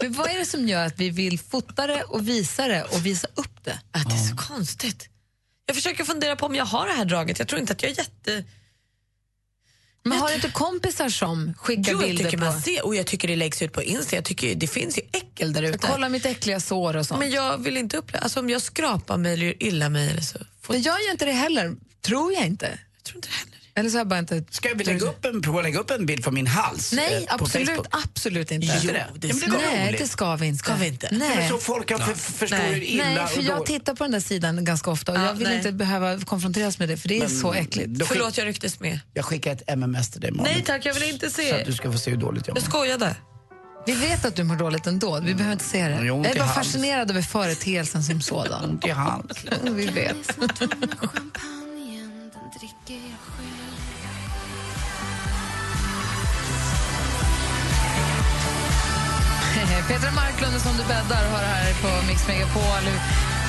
Speaker 2: Men vad är det som gör att vi vill fota det och visa det och visa upp det?
Speaker 7: Att det är så konstigt. Jag försöker fundera på om jag har det här draget. Jag tror inte att jag är jätte...
Speaker 2: Men har du inte kompisar som skickar
Speaker 7: Jo, jag
Speaker 2: bilder
Speaker 7: tycker man
Speaker 2: på...
Speaker 7: ser och jag tycker det läggs ut på Insta. Jag tycker ju- det finns ju äckel där ute.
Speaker 2: Kolla mitt äckliga sår och sånt.
Speaker 7: Men jag vill inte uppleva... Alltså om jag skrapar mig eller gör illa mig eller så.
Speaker 2: Men jag gör inte det heller, tror jag inte.
Speaker 7: Jag tror inte heller
Speaker 2: Eller så har jag bara inte...
Speaker 6: Ska vi lägga upp en, prova att lägga upp en bild från min hals?
Speaker 2: Nej,
Speaker 6: eh, på
Speaker 2: absolut,
Speaker 6: Facebook?
Speaker 2: absolut inte.
Speaker 6: Jo, det
Speaker 2: Ja, men
Speaker 6: ska vi.
Speaker 2: Nej, det ska vi inte.
Speaker 7: Ska vi inte?
Speaker 6: Nej. Men
Speaker 2: Nej.
Speaker 6: så folk har för, förstår hur
Speaker 2: Nej,
Speaker 6: illa
Speaker 2: nej, för
Speaker 6: och
Speaker 2: jag
Speaker 6: dåligt-
Speaker 2: tittar på den där sidan ganska ofta och
Speaker 7: Ja,
Speaker 2: jag vill
Speaker 7: nej.
Speaker 2: inte behöva konfronteras med det för det är
Speaker 6: Men
Speaker 2: så äckligt.
Speaker 6: då skick-
Speaker 7: Förlåt, jag rycktes med.
Speaker 6: Jag skickar ett MMS till dig imorgon.
Speaker 7: Nej tack, jag vill inte
Speaker 6: Så att
Speaker 7: se.
Speaker 6: du Mm. ska få se hur dåligt jag
Speaker 7: Jag
Speaker 6: mår.
Speaker 7: skojade.
Speaker 2: Vi vet att du mår dåligt ändå, vi behöver inte se det.
Speaker 6: Jo,
Speaker 2: jag är
Speaker 6: till
Speaker 2: bara
Speaker 6: hals.
Speaker 2: fascinerad över företeelsen som sådan.
Speaker 6: Ont i hals.
Speaker 2: Mm, (laughs) vi vet.
Speaker 6: (laughs)
Speaker 2: Petra Marklund som du bäddar hör här på Mix Megapol.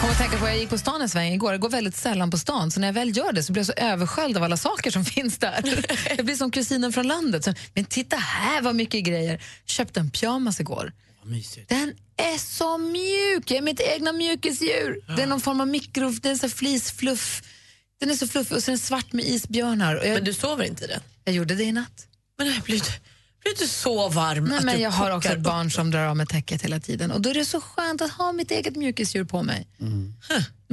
Speaker 2: Kom att tänka på, jag gick på stan en sväng igår. Jag går väldigt sällan på stan, så när jag väl gör det så blir jag så översköljd av alla saker som (laughs) finns där. Jag blir som kusinen från landet. Så, Men titta här vad mycket grejer. Köpte en pyjamas igår.
Speaker 6: Mysigt.
Speaker 2: Den är så mjuk! Jag är mitt egna mjukisdjur. Det är någon form av mikro... Det är en sån här flisfluff. Den är så fluffig och så är den svart med isbjörnar. Och
Speaker 7: Men
Speaker 2: jag,
Speaker 7: du sover inte i den?
Speaker 2: jag gjorde det i natt.
Speaker 7: Men jag blir, inte- blir du så varm
Speaker 2: Nej,
Speaker 7: att
Speaker 2: men
Speaker 7: du
Speaker 2: jag har också
Speaker 7: kockar
Speaker 2: ett barn som drar av mig täcket hela tiden. Och Då är det så skönt att ha mitt eget
Speaker 6: Mm.
Speaker 2: mjukisdjur på mig.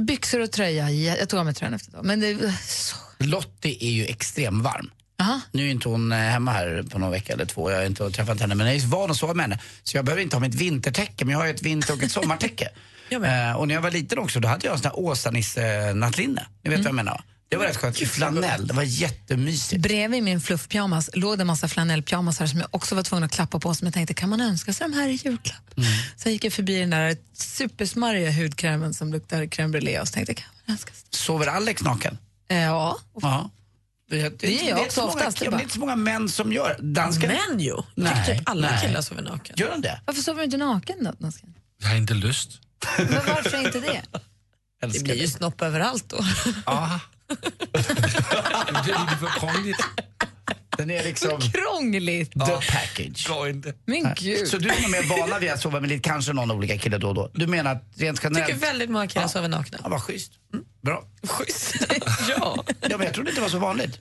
Speaker 2: Byxor och tröja. ja, Jag tog av mig tröjan efter ett tag. Men det är så skönt.
Speaker 6: Lottie är ju extremvarm.
Speaker 2: Aha.
Speaker 6: Nu är inte hon eh, hemma här på någon vecka eller två. Jag har inte träffat henne. Men jag är van att sova med henne. Så jag behöver inte ha mitt vintertäcke. Men jag har ju ett vinter och ett sommartäcke. Eh, och när jag var liten också, då hade jag en sån här Åsa-Nisse-nattlinne. Ni vet vad jag menar va? Det var rätt skönt. I flanell. Det var jättemysigt.
Speaker 2: Bredvid min fluffpyjamas låg det en massa flanellpyjamasar som jag också var tvungen att klappa på som jag tänkte, kan man önska sig de här i julklapp? Sen gick jag förbi den där supersmarriga hudkrämen som luktar crème brûlée och så tänkte, jag, kan man önska sig?
Speaker 6: Sover Alex naken?
Speaker 2: Eh, Ja,
Speaker 6: Ja. Det, det,
Speaker 2: gör jag
Speaker 6: inte
Speaker 2: också
Speaker 6: så många
Speaker 2: oftast, det
Speaker 6: killar-
Speaker 2: bara-
Speaker 6: Det är inte så många män som gör. Danskarna...
Speaker 7: Män ju.
Speaker 6: Nej,
Speaker 7: typ alla
Speaker 6: nej.
Speaker 7: killar sover naken.
Speaker 6: Gör de det?
Speaker 2: varför sover du inte naken då? Dansken?
Speaker 14: Jag har inte lust.
Speaker 2: Men varför inte det?
Speaker 7: Det blir ju snopp överallt då.
Speaker 14: Ja. Men det är lite för krångligt.
Speaker 6: Den är liksom...
Speaker 2: Krångligt!
Speaker 6: The package.
Speaker 14: Går inte.
Speaker 2: Men gud.
Speaker 6: Så du som är vana vid att sova med lite, kanske någon olika kille då och då. Du menar att rent
Speaker 7: Jag tycker
Speaker 6: generellt...
Speaker 7: väldigt många killar sover nakna.
Speaker 6: Ja, vad schysst. Mm. Bra.
Speaker 7: Schysst.
Speaker 6: (laughs)
Speaker 7: ja.
Speaker 6: Ja, men jag trodde inte det var så vanligt.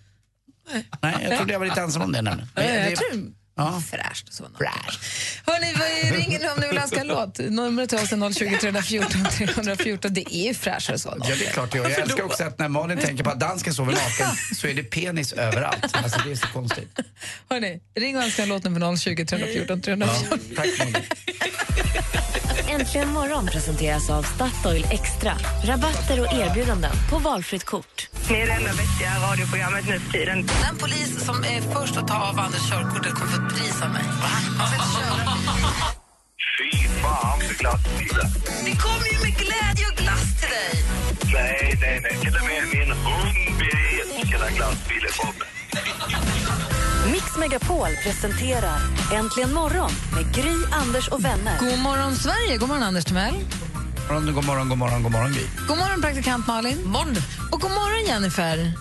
Speaker 6: Nej, jag trodde jag var lite ensam om det nämligen. Men
Speaker 2: Ja,
Speaker 6: det-
Speaker 2: jag tror
Speaker 6: Ja.
Speaker 2: fräscht och så.
Speaker 6: Fräsch.
Speaker 2: Hörni, vad- ring in om ni vill önska en låt. Numret till oss är 020 314 314. Det är ju fräschare så.
Speaker 6: Ja, det är klart det gör. Jag älskar också att när Malin tänker på att dansken sover naken så är det penis överallt. Alltså det är så konstigt.
Speaker 2: Hörni, ring och önska en låt nummer 020 314 314.
Speaker 6: Tack Malin.
Speaker 1: Äntligen morgon presenteras av Statoil Extra. Rabatter och erbjudanden på valfritt kort.
Speaker 4: Ni är det enda vettiga radioprogrammet nu för tiden.
Speaker 2: Den polis som är först att ta av Anders körkortet kommer få ett pris av (laughs) mig.
Speaker 3: Fy fan för glassbilar.
Speaker 2: Det kommer ju med glädje och glass till dig.
Speaker 3: Nej, nej, nej. Till och med min hund blir ilsken när glassbilen kommer.
Speaker 1: Mix Megapol presenterar Äntligen morgon med Gry, Anders och vänner.
Speaker 2: God morgon, Sverige. God morgon, Anders Timell.
Speaker 6: God morgon, God morgon, god morgon, god morgon Gry.
Speaker 2: God morgon, praktikant Malin. Morgon. Och god morgon, Jennifer.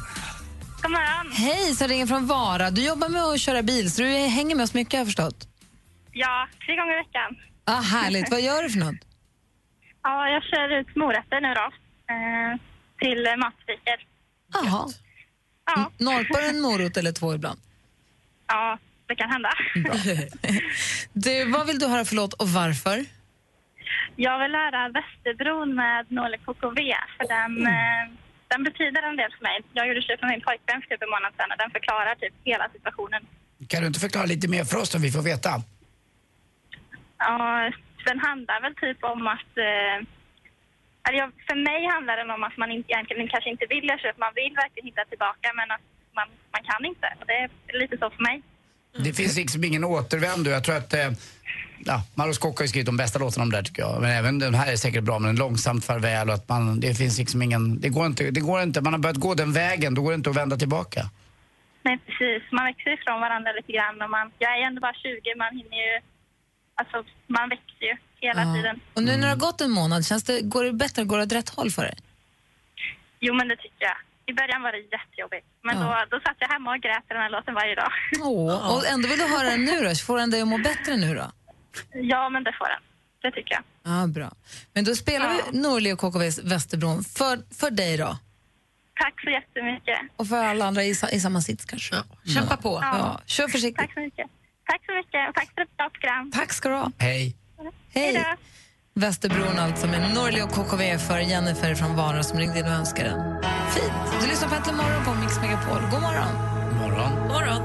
Speaker 4: Kom igen.
Speaker 2: Hej, som ringer från Vara. Du jobbar med att köra bil, så du hänger med oss mycket, har jag förstått.
Speaker 15: Ja, tre gånger i veckan.
Speaker 2: Ah, härligt. Vad gör du för något?
Speaker 15: Ja, jag kör ut morötter nu då. Eh, till eh, matbutiker.
Speaker 2: Jaha. Ja. Norpar en morot eller två ibland?
Speaker 15: Ja, det kan hända.
Speaker 4: (laughs)
Speaker 2: (laughs) Du, vad vill du höra för låt och varför?
Speaker 15: Jag vill höra Västerbron med Nåle KKV. För den, eh, den betyder en del för mig. Jag gjorde slut med min pojkvän för typ en månad sedan och den förklarar typ hela situationen.
Speaker 6: Kan du inte förklara lite mer för oss så vi får veta?
Speaker 15: Ja, den handlar väl typ om att... Eh, eller jag, för mig handlar den om att man inte, egentligen kanske inte vill göra slut. Man vill verkligen hitta tillbaka, men att man, man kan inte. Och det är lite så för mig.
Speaker 6: Det finns liksom ingen återvändo. Jag tror att eh, ja, Maros Kock har ju skrivit de bästa låtarna om det här tycker jag. Men även den här är säkert bra, men en långsamt farväl och att man, det finns liksom ingen, det går inte, det går inte. Man har börjat gå den vägen, då går det inte att vända tillbaka.
Speaker 15: Nej, precis. Man växer ifrån varandra lite grann. Och man, jag är ändå bara 20, man hinner ju... Alltså, man växer ju hela tiden.
Speaker 2: Och nu när det har gått en månad, känns det, går det bättre? Går det åt rätt håll för dig?
Speaker 15: Jo, men det tycker jag. I början var det jättejobbigt. Men då, då satt jag hemma och grät till den här låten varje dag.
Speaker 2: Åh, och ändå vill du höra den nu då? Får den dig att må bättre nu då?
Speaker 15: Ja, men det får den. Det tycker jag.
Speaker 2: Ja, bra. Men då spelar vi Norli och KKVs Västerbron för, för dig då.
Speaker 15: Tack så jättemycket.
Speaker 2: Och för alla andra i, sa- i samma sits kanske. Kämpa på. Ja. Kör försiktigt.
Speaker 15: Tack så mycket. Tack så mycket och tack för ett bra program.
Speaker 2: Tack ska du ha.
Speaker 6: Hej.
Speaker 2: Hej.
Speaker 15: Hej
Speaker 2: Västerbron alltså med Norli och KKV för Jennifer från Vara som ringde in och önskade den. Fint. Du lyssnar på Äntligen morgon på Mix Megapol. God morgon.
Speaker 6: Morgon.
Speaker 2: God morgon.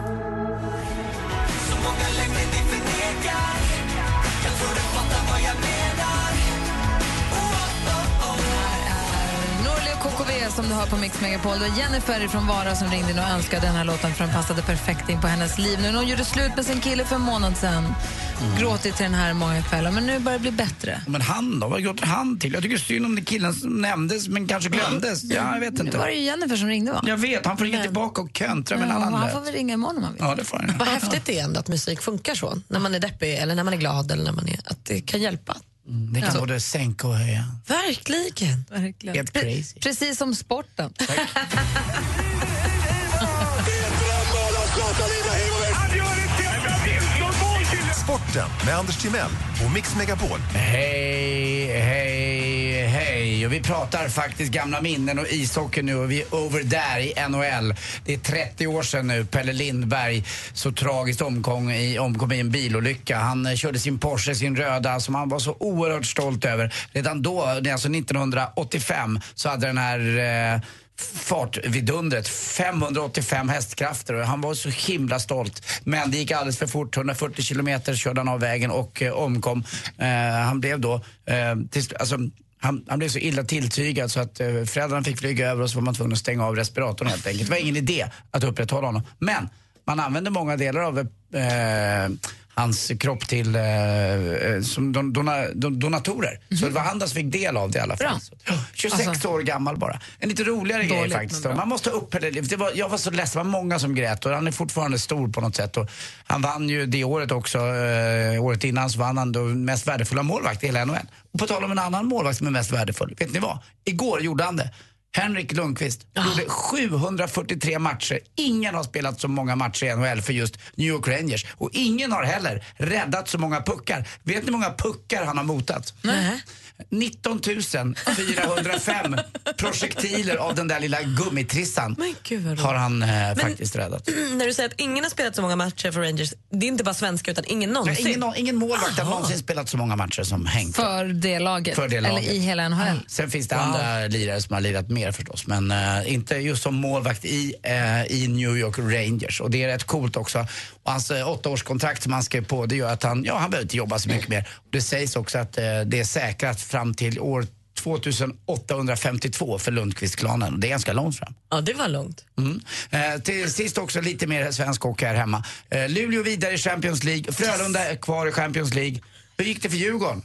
Speaker 2: Norli och KKV som du hör på Mix Megapol. Det var Jennifer från Vara som ringde in och önskade den här låten för den passade perfekt in på hennes liv. Nu när hon gjorde slut med sin kille för en månad sedan.
Speaker 6: Mm.
Speaker 2: Gråtit till den här många kvällar, men nu börjar det bli bättre.
Speaker 6: Men han då? Vad gråter han till? Jag tycker synd om den killen som nämndes men kanske glömdes. Ja, jag vet
Speaker 2: Det var det
Speaker 6: inte.
Speaker 2: ju Jennifer som ringde va?
Speaker 6: Jag vet, han får ringa tillbaka och köntra med en
Speaker 2: Ja,
Speaker 6: annan
Speaker 2: han får
Speaker 6: låt.
Speaker 2: väl ringa imorgon om han vill.
Speaker 6: Ja, det får han.
Speaker 7: Vad häftigt det är ändå att musik funkar så. När man är deppig eller när man är glad eller när man är... Att det kan hjälpa.
Speaker 6: Det kan både sänka och höja.
Speaker 7: Verkligen.
Speaker 2: Verkligen.
Speaker 6: Helt crazy.
Speaker 2: Precis som sporten.
Speaker 16: Sporten med Anders Timell och Mix Megapol.
Speaker 6: Hej, hej, hej. Och vi pratar faktiskt gamla minnen och ishockey nu och vi är over där i NHL. Det är 30 år sedan nu Pelle Lindberg så tragiskt omkom i, omkom i en bilolycka. Han eh, körde sin Porsche, sin röda, som han var så oerhört stolt över. Redan då, det är alltså 1985, så hade den här eh, fartvidundret. 585 hästkrafter och han var så himla stolt. Men det gick alldeles för fort. 140 kilometer körde han av vägen och eh, omkom. Eh, han blev då, eh, till, alltså, han, han blev så illa tilltygad så att eh, föräldrarna fick flyga över och så var man tvungen att stänga av respiratorn helt enkelt. Det var ingen idé att upprätthålla honom. Men man använde många delar av eh, hans kropp till eh, eh, som don, dona, don, donatorer. Så det var han som fick del av det i alla fall.
Speaker 2: Bra.
Speaker 6: Så, ja, 26 år gammal bara. En lite roligare grej
Speaker 2: Dåligt,
Speaker 6: faktiskt.
Speaker 2: men bra.
Speaker 6: Man måste ha upp det. det var, jag var så ledsen, det var många som grät och han är fortfarande stor på något sätt. Och han vann ju det året också, eh, året innan så vann han då mest värdefulla målvakt i hela NHL. Och på tal om en annan målvakt som är mest värdefull, vet ni vad? Igår gjorde han det. Henrik Lundqvist gjorde 743 matcher. Ingen har spelat så många matcher i NHL för just New York Rangers. Och ingen har heller räddat så många puckar. Vet ni hur många puckar han har motat? 19 405 projektiler av den där lilla gummitrissan
Speaker 7: Gud, vad roligt.
Speaker 6: har han eh, faktiskt räddat.
Speaker 7: (clears throat) När du säger att ingen har spelat så många matcher för Rangers, det är inte bara svenska utan ingen någonsin?
Speaker 6: Nej, ingen, ingen målvakt har någonsin spelat så många matcher som
Speaker 2: (laughs)
Speaker 6: Henk.
Speaker 2: För det laget,
Speaker 6: För det laget.
Speaker 2: eller i hela NHL.
Speaker 6: Sen finns det andra lirare som har lirat mer förstås, men eh, inte just som målvakt i, eh, i New York Rangers. Och det är rätt coolt också. Och hans eh, åttaårskontrakt som han skrev på, det gör att han, ja, han behöver inte jobba så mycket mer. Och det sägs också att eh, det är säkrat fram till år 2852 för Lundqvist-klanen. Och Det är ganska långt fram.
Speaker 7: Ja, det var långt.
Speaker 6: Mm. Eh, till sist också lite mer svensk hockey här hemma. Eh, Luleå vidare i Champions League, Frölunda är kvar i Champions League. Hur gick det för Djurgården?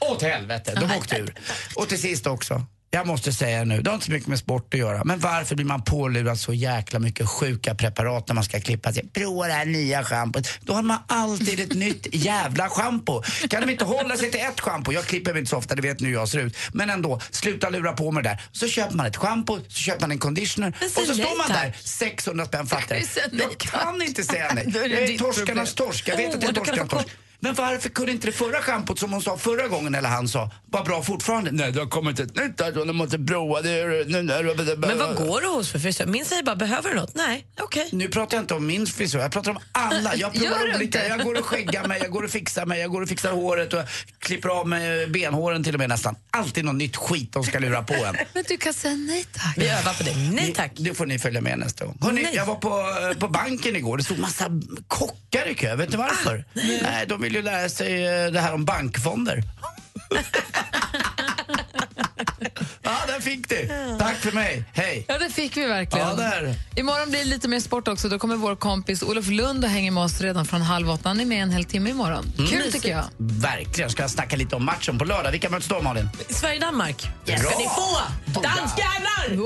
Speaker 6: Åt helvete, de åkte ur. Och till sist också, jag måste säga nu, det har inte så mycket med sport att göra, men varför blir man pålurad så jäkla mycket sjuka preparat när man ska klippa sig? Prova det här nya schampot. Då har man alltid ett nytt jävla schampo. Kan de inte hålla sig till ett schampo? Jag klipper mig inte så ofta, det vet nu hur jag ser ut. Men ändå, sluta lura på mig det där. Så köper man ett schampo, så köper man en conditioner
Speaker 2: Men
Speaker 6: och
Speaker 2: säg
Speaker 6: så
Speaker 2: nej
Speaker 6: står man
Speaker 2: tack.
Speaker 6: där, 600 spänn fattigare.
Speaker 2: (laughs) Säg nej
Speaker 6: Jag kan inte säga nej.
Speaker 2: (laughs) Då är det
Speaker 6: Jag är
Speaker 2: ditt
Speaker 6: torskarnas
Speaker 2: problem.
Speaker 6: torsk. Jag vet att jag är
Speaker 2: Åh, då kan
Speaker 6: torskarnas
Speaker 2: de
Speaker 6: torsk. Men varför kunde inte det förra schampot som hon sa förra gången, eller han sa, var bra fortfarande? Nej, det har kommit ett nytt här, så du måste prova det.
Speaker 7: Men vad går du hos för frisör? Min säger bara, behöver du något? Nej, okej.
Speaker 6: Nu pratar jag inte om min frisör, jag pratar om alla. Jag
Speaker 7: Gör du
Speaker 6: provar olika.
Speaker 7: inte?
Speaker 6: Jag går och skäggar mig, jag går och fixar mig, jag går och fixar håret och klipper av mig benhåren till och med nästan. Alltid något nytt skit de ska lura på en.
Speaker 2: Men du kan säga nej tack.
Speaker 7: Vi övar på det. Nej tack.
Speaker 6: Det får ni följa med nästa gång. Hörrni, jag var på, eh, på banken igår. Det stod massa kockar i kö. Vet ni varför?
Speaker 2: Ah,
Speaker 6: nej. de vill ju lära sig eh, det här
Speaker 2: (laughs)
Speaker 6: om bankfonder. ja, där fick du. Tack för mig. Hej.
Speaker 2: Ja, det fick vi verkligen.
Speaker 6: Ja, där.
Speaker 2: Imorgon blir det lite mer sport också. Då kommer vår kompis Olof Lund och hänger med oss redan från halv åtta. Han är med en hel timme imorgon.
Speaker 6: Mm.
Speaker 2: Kul tycker jag.
Speaker 6: Verkligen. Ska jag snacka lite om matchen på lördag. Vilka möts då, Malin?
Speaker 7: Sverige-Danmark. Det ska
Speaker 6: Bra.
Speaker 7: ni få! Danskarna!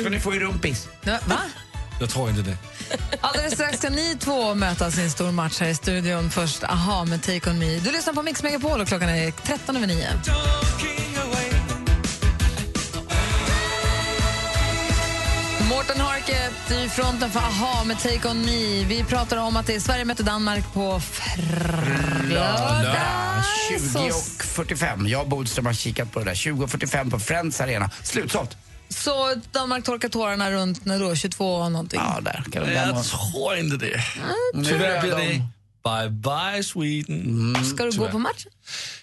Speaker 6: Ska ni få i rumpis?
Speaker 2: Ja, Va?
Speaker 14: Jag tror inte det.
Speaker 2: Alldeles strax ska ni två mötas i en stor match här i studion. Först Aha med Take On Me. Du lyssnar på Mix Megapol och klockan är 13 över 9. Mårten Harket i fronten för Aha med Take On Me. Vi pratar om att det är Sverige möter Danmark på
Speaker 6: Lördag
Speaker 2: fredag.
Speaker 6: 20.45. Jag och Bodström har kikat på det där. 20.45 på Friends Arena. Slutsålt.
Speaker 2: Så Danmark torkar tårarna runt när då? 22 och någonting?
Speaker 6: Ja, där kan de
Speaker 14: Jag
Speaker 6: lämna.
Speaker 14: tror inte det.
Speaker 6: tror
Speaker 14: Tyvärr blir
Speaker 6: jag
Speaker 14: det bye bye Sweden.
Speaker 2: Ska du gå på matchen?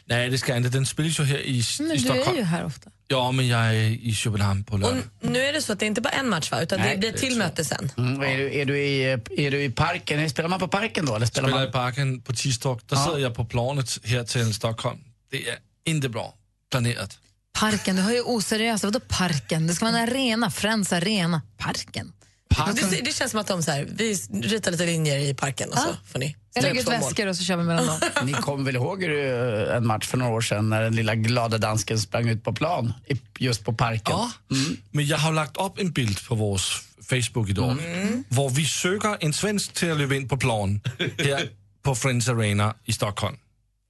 Speaker 14: Nej, det ska jag inte. Den spelas ju här i,
Speaker 2: Men
Speaker 14: i
Speaker 2: du är ju
Speaker 14: Stockholm.
Speaker 2: här ofta.
Speaker 14: Ja, men jag är i Köpenhamn på lördag.
Speaker 7: Nu är det så att det inte bara är en match, va? utan
Speaker 14: Nej,
Speaker 7: det blir
Speaker 14: det
Speaker 7: ett till möte sen.
Speaker 6: Mm, och är, du, är, du i, är du i parken? Spelar man på parken då? Eller spelar
Speaker 14: Spelar i
Speaker 6: man...
Speaker 14: parken på tisdag. Där
Speaker 6: Ja.
Speaker 14: sitter jag på planet här till Stockholm. Det är inte bra planerat.
Speaker 2: Parken, du hör ju oseriösa. Vadå parken? Det ska vara en arena, Friends arena. Parken.
Speaker 7: Det, det känns som att de så här, vi ritar lite linjer i parken och så får ni
Speaker 2: Jag
Speaker 7: ställa
Speaker 2: lägger
Speaker 7: upp
Speaker 2: ut
Speaker 7: två mål.
Speaker 2: väskor och så kör vi mellan dem.
Speaker 6: Ni kommer väl ihåg hur, eh, en match för några år sedan när den lilla glada dansken sprang ut på plan i- just på parken?
Speaker 14: Ja. Men jag har lagt upp en bild på vår Facebook idag. Där vi söker en svensk till att löpa in på plan här på Friends Arena i Stockholm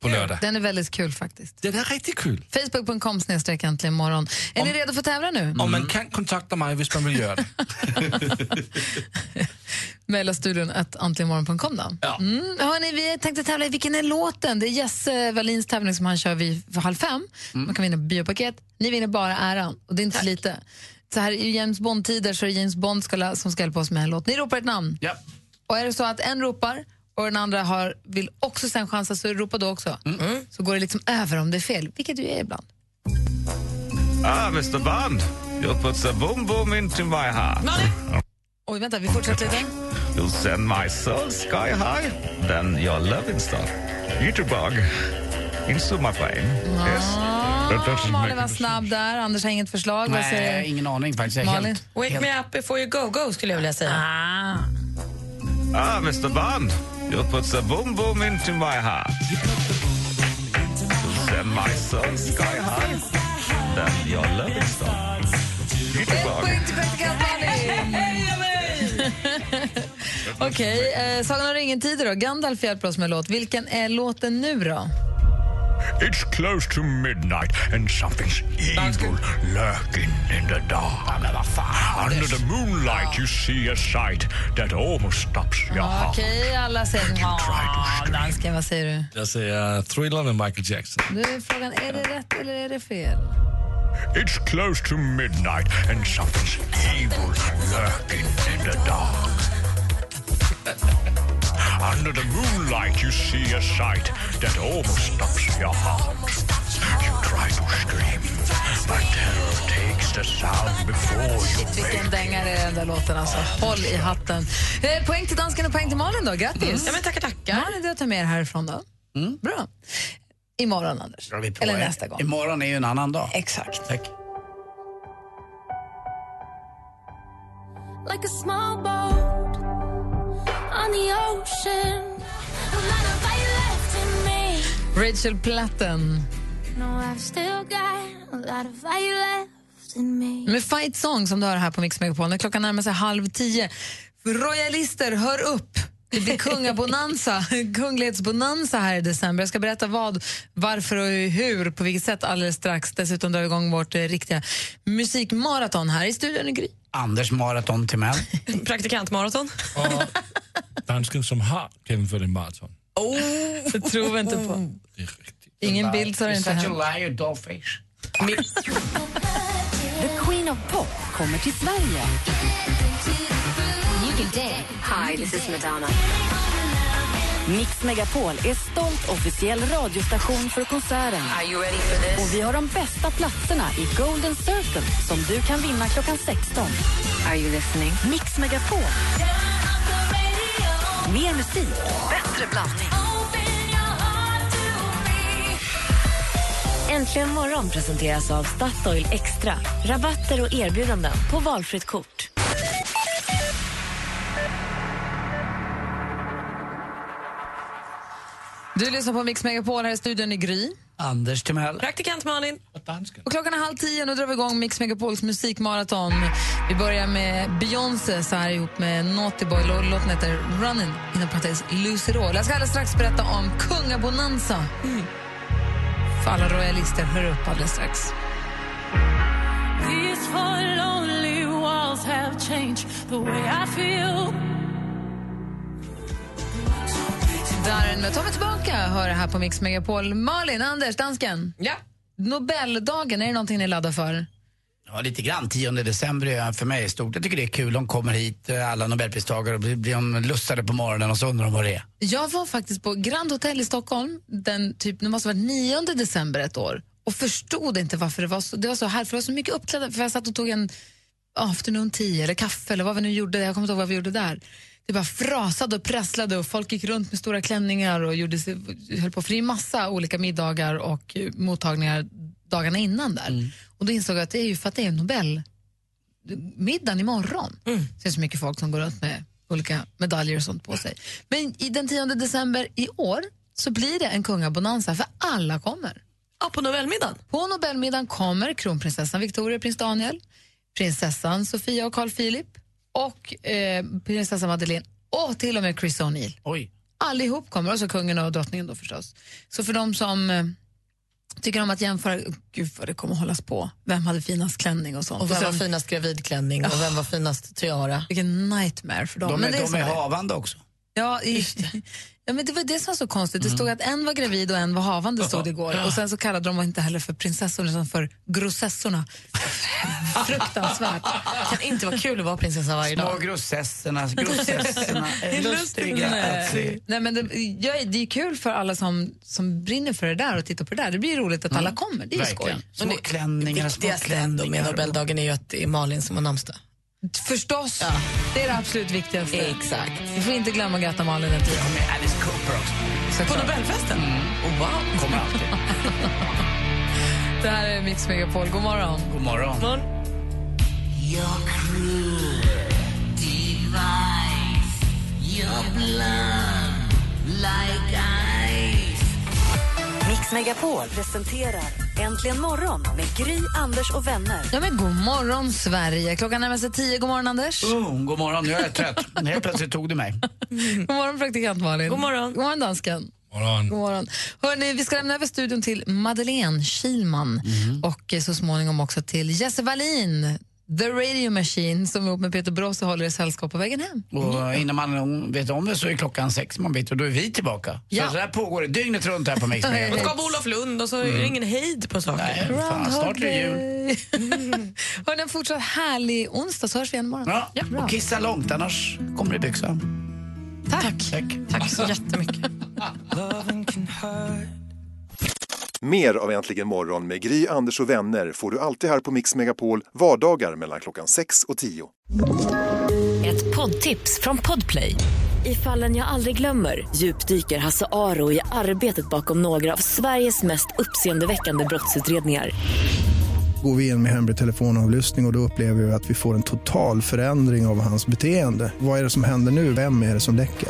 Speaker 14: på lördag.
Speaker 2: Den är väldigt kul faktiskt.
Speaker 14: Det är riktigt kul.
Speaker 2: Facebook.com snedstreck äntligen morgon. Är ni redo för att tävla nu?
Speaker 14: Och man kan kontakta mig om man vill göra det.
Speaker 2: Mejla studion att antligenmorgon.com då.
Speaker 14: Ja.
Speaker 2: Mm, hörni, vi tänkte tävla i Vilken är låten? Det är Jesse Wallins tävling som han kör vid för halv fem.
Speaker 14: Mm.
Speaker 2: Man kan vinna biopaket. Ni vinner bara äran och det är inte så lite. Så här i James Bond-tider så är det James Bond ska, som ska hjälpa oss med en låt. Ni ropar ett namn.
Speaker 6: Ja.
Speaker 2: Och är det så att en ropar och den andra har, vill också sen
Speaker 14: Mm.
Speaker 2: chansa så ropa då också. Så går det liksom över om det är fel, vilket du är ibland.
Speaker 17: Ah, Mr Bond, you put the boom boom into my heart.
Speaker 2: Oj, vänta, vi fortsätter lite.
Speaker 17: You send my soul sky high, then your loving star. Eat a bug into my brain. Yes. That doesn't
Speaker 2: Malin var
Speaker 17: make-
Speaker 2: snabb där, Anders har inget förslag. Vad säger
Speaker 6: ingen aning faktiskt.
Speaker 2: Malin?
Speaker 7: Wake me up before you go go skulle jag vilja säga.
Speaker 17: Ah, Mr Bond, you put the boom boom into my heart. You send my soul sky high, then your loving star. Eat a bug.
Speaker 2: Okej, eh, Sagan om ringen-tider då. Gandalf hjälper oss med låt. Vilken är låten nu då?
Speaker 18: It's close to midnight and something's evil lurking in the dark. Under the moonlight you see a sight that almost stops
Speaker 2: Oh,
Speaker 18: your heart.
Speaker 2: Okej, alla säger Ja, Dansken, vad säger du?
Speaker 14: Jag säger Thriller med uh, Michael Jackson.
Speaker 2: Nu är frågan, är det rätt eller är det fel?
Speaker 18: It's close to midnight and something's evil lurking in the dark. (laughs) Under the moonlight you see a sight that almost stops your heart. You try to scream, but terror takes the sound before you
Speaker 2: Shit,
Speaker 18: make
Speaker 2: vilken dängare är den där låten alltså. Håll i hatten. Eh, poäng till dansken och poäng till Malin då. Grattis!
Speaker 7: Mm. Ja, men tackar, tackar. Mm.
Speaker 2: Malin, du tar med er härifrån då. Bra. Imorgon, Anders.
Speaker 6: Drar vi på
Speaker 2: Eller
Speaker 6: er.
Speaker 2: nästa gång.
Speaker 6: Imorgon är ju en annan dag.
Speaker 2: Exakt.
Speaker 6: Tack.
Speaker 19: like a small boat on the ocean. A lot of fight left in me.
Speaker 2: Rachel Platten.
Speaker 19: No, I've still got a lot of fight left in me.
Speaker 2: Med Fight Song som du hör här på Mix Megapol. När klockan närmar sig halv tio. Royalister, hör upp! Det blir kungabonanza, (laughs) kunglighetsbonanza här i december. Jag ska berätta vad, varför och hur, på vilket sätt alldeles strax. Dessutom drar vi igång vårt eh, riktiga musikmaraton här i studion i Gry.
Speaker 6: Anders maraton till män.
Speaker 7: Praktikantmaraton.
Speaker 14: (laughs) Dansken som har genomfört en maraton.
Speaker 2: Oh. Det tror vi inte på. Ingen bild så har det inte
Speaker 6: Such
Speaker 2: hänt.
Speaker 6: a liar, dollface.
Speaker 1: The Queen of Pop kommer till Sverige. Hi, this is Madonna. Mix Megapol är stolt officiell radiostation för konserten.
Speaker 13: Are you ready for this?
Speaker 1: Och vi har de bästa platserna i Golden Circle som du kan vinna klockan 16. Are you listening? Mix Megapol. Mer musik, bättre blandning. Äntligen morgon presenteras av Statoil Extra. Rabatter och erbjudanden på valfritt kort.
Speaker 2: Du lyssnar på Mix Megapol här i studion i Gry.
Speaker 6: Anders Timell.
Speaker 7: Praktikant Malin.
Speaker 2: Och klockan är halv tio och drar vi igång Mix Megapols musikmaraton. Vi börjar med Beyoncé så här ihop med Naughty Boy. Lå- Låten heter Running, inom parentes Lucy Roll. Jag ska alldeles strax berätta om kungabonanza.
Speaker 7: Mm.
Speaker 2: För alla royalister, hör upp alldeles strax.
Speaker 13: These four lonely walls have changed the way I feel.
Speaker 2: Där nu tar vi tillbaka hör det här på Mix Megapol. Malin, Anders, dansken.
Speaker 7: Ja.
Speaker 2: Nobeldagen, är det någonting ni laddar för?
Speaker 6: Ja, lite grann. 10 december är för mig stort. Jag tycker det är kul. De kommer hit, eh, alla nobelpristagare, och blir, blir de lussade på morgonen och så undrar de vad det är.
Speaker 2: Jag var faktiskt på Grand Hotel i Stockholm den typ, det måste ha varit 9 december ett år och förstod inte varför det var så, det var så här, för det var så mycket uppklädda, för jag satt och tog en afternoon tea eller kaffe eller vad vi nu gjorde, jag kommer inte ihåg vad vi gjorde där. Det bara frasade och prasslade och folk gick runt med stora klänningar och gjorde sig, höll på för det är massa olika middagar och eh, mottagningar dagarna innan där. Och då insåg jag att det är ju för att det är Nobel middagen imorgon.
Speaker 7: Mm.
Speaker 2: Så det är så mycket folk som går runt med olika medaljer och sånt på sig. Men i den 10 december i år så blir det en kungabonanza för alla kommer.
Speaker 7: Ja, på Nobelmiddagen?
Speaker 2: På Nobelmiddagen kommer kronprinsessan Victoria och prins Daniel, prinsessan Sofia och Carl Philip och eh, prinsessan Madeleine och till och med Chris O'Neill.
Speaker 6: Oj.
Speaker 2: Allihop kommer, och så kungen och drottningen då förstås. Så för de som eh, tycker om att jämföra, gud vad det kommer hållas på, vem hade finast klänning och sånt.
Speaker 7: Och vem
Speaker 2: sen-
Speaker 7: var finast gravidklänning och vem var finast tiara?
Speaker 2: Vilken nightmare för dem.
Speaker 6: De är,
Speaker 2: Men det är
Speaker 6: de
Speaker 2: så
Speaker 6: är
Speaker 2: här.
Speaker 6: havande också.
Speaker 2: Ja, i, (laughs) ja, men det var det som var så konstigt. Det
Speaker 6: Mm.
Speaker 2: stod att en var gravid och en var havande stod det igår. Och sen så kallade de inte heller för prinsessor utan för grossessorna. (laughs) Fruktansvärt.
Speaker 7: (laughs) kan inte vara kul att vara prinsessa varje dag.
Speaker 6: Små grossessorna,
Speaker 7: (laughs)
Speaker 6: grossessorna är lustiga att se.
Speaker 2: Nej. Nej, men det, jag, är- det är kul för alla som, som brinner för det där och tittar på det där. Det blir roligt att alla kommer. Det är ju skoj.
Speaker 6: Små Mm. klänningar,
Speaker 2: det
Speaker 6: små
Speaker 2: viktigaste
Speaker 6: klänningar.
Speaker 2: ändå med
Speaker 7: Nobeldagen är ju att det är Malin som har namnsdag.
Speaker 2: Förstås. Det är det absolut viktigaste. Exakt. Vi får inte glömma att gratta Malin. På
Speaker 6: Alice Cooper också.
Speaker 2: Såklart.
Speaker 7: Nobelfesten? Oh, wow.
Speaker 6: Kommer alltid.
Speaker 2: Det här är Mix Megapol. God morgon.
Speaker 6: God morgon.
Speaker 19: Your cruel device, your blood like ice.
Speaker 1: Mix Megapol presenterar Äntligen morgon med Gry, Anders och vänner.
Speaker 2: Ja, men god morgon, Sverige. Klockan närmar sig tio. God morgon, Anders.
Speaker 6: Oh, god morgon, nu är jag trött. Helt plötsligt tog du mig.
Speaker 2: (laughs) God morgon, praktikant Malin.
Speaker 7: God morgon.
Speaker 2: God morgon, dansken.
Speaker 6: Mm.
Speaker 14: Morgon.
Speaker 2: God morgon. Hörrni, vi ska lämna över studion till Madeleine Kilman
Speaker 6: Mm.
Speaker 2: och eh, så småningom också till Jesse Wallin, The Radio Machine, som ihop med Peter Brosse håller i sällskap på vägen hem. Mm.
Speaker 6: Och innan man vet om det så är klockan sex man bit och då är vi tillbaka. Så
Speaker 2: Ja.
Speaker 6: det här pågår dygnet runt här på Mix
Speaker 7: Och så
Speaker 6: Megapol.
Speaker 7: kommer Olof Lund och så är det
Speaker 6: Mm.
Speaker 7: ingen hejd på saker.
Speaker 6: Nej, fan, snart är det jul.
Speaker 2: (laughs) Hörni, en fortsatt härlig onsdag så hörs vi igen imorgon.
Speaker 6: Ja, och kissa långt annars kommer det i byxan.
Speaker 2: Tack.
Speaker 6: Tack.
Speaker 7: Tack så jättemycket.
Speaker 16: Mer av Äntligen morgon med Gry, Anders och vänner får du alltid här på Mix Megapol vardagar mellan klockan 6 och 10.
Speaker 20: Ett poddtips från Podplay. I fallen jag aldrig glömmer djupdyker Hasse Aro i arbetet bakom några av Sveriges mest uppseendeväckande brottsutredningar.
Speaker 21: Går vi in med hemlig telefonavlyssning och, och då upplever vi att vi får en total förändring av hans beteende. Vad är det som händer nu? Vem är det som läcker?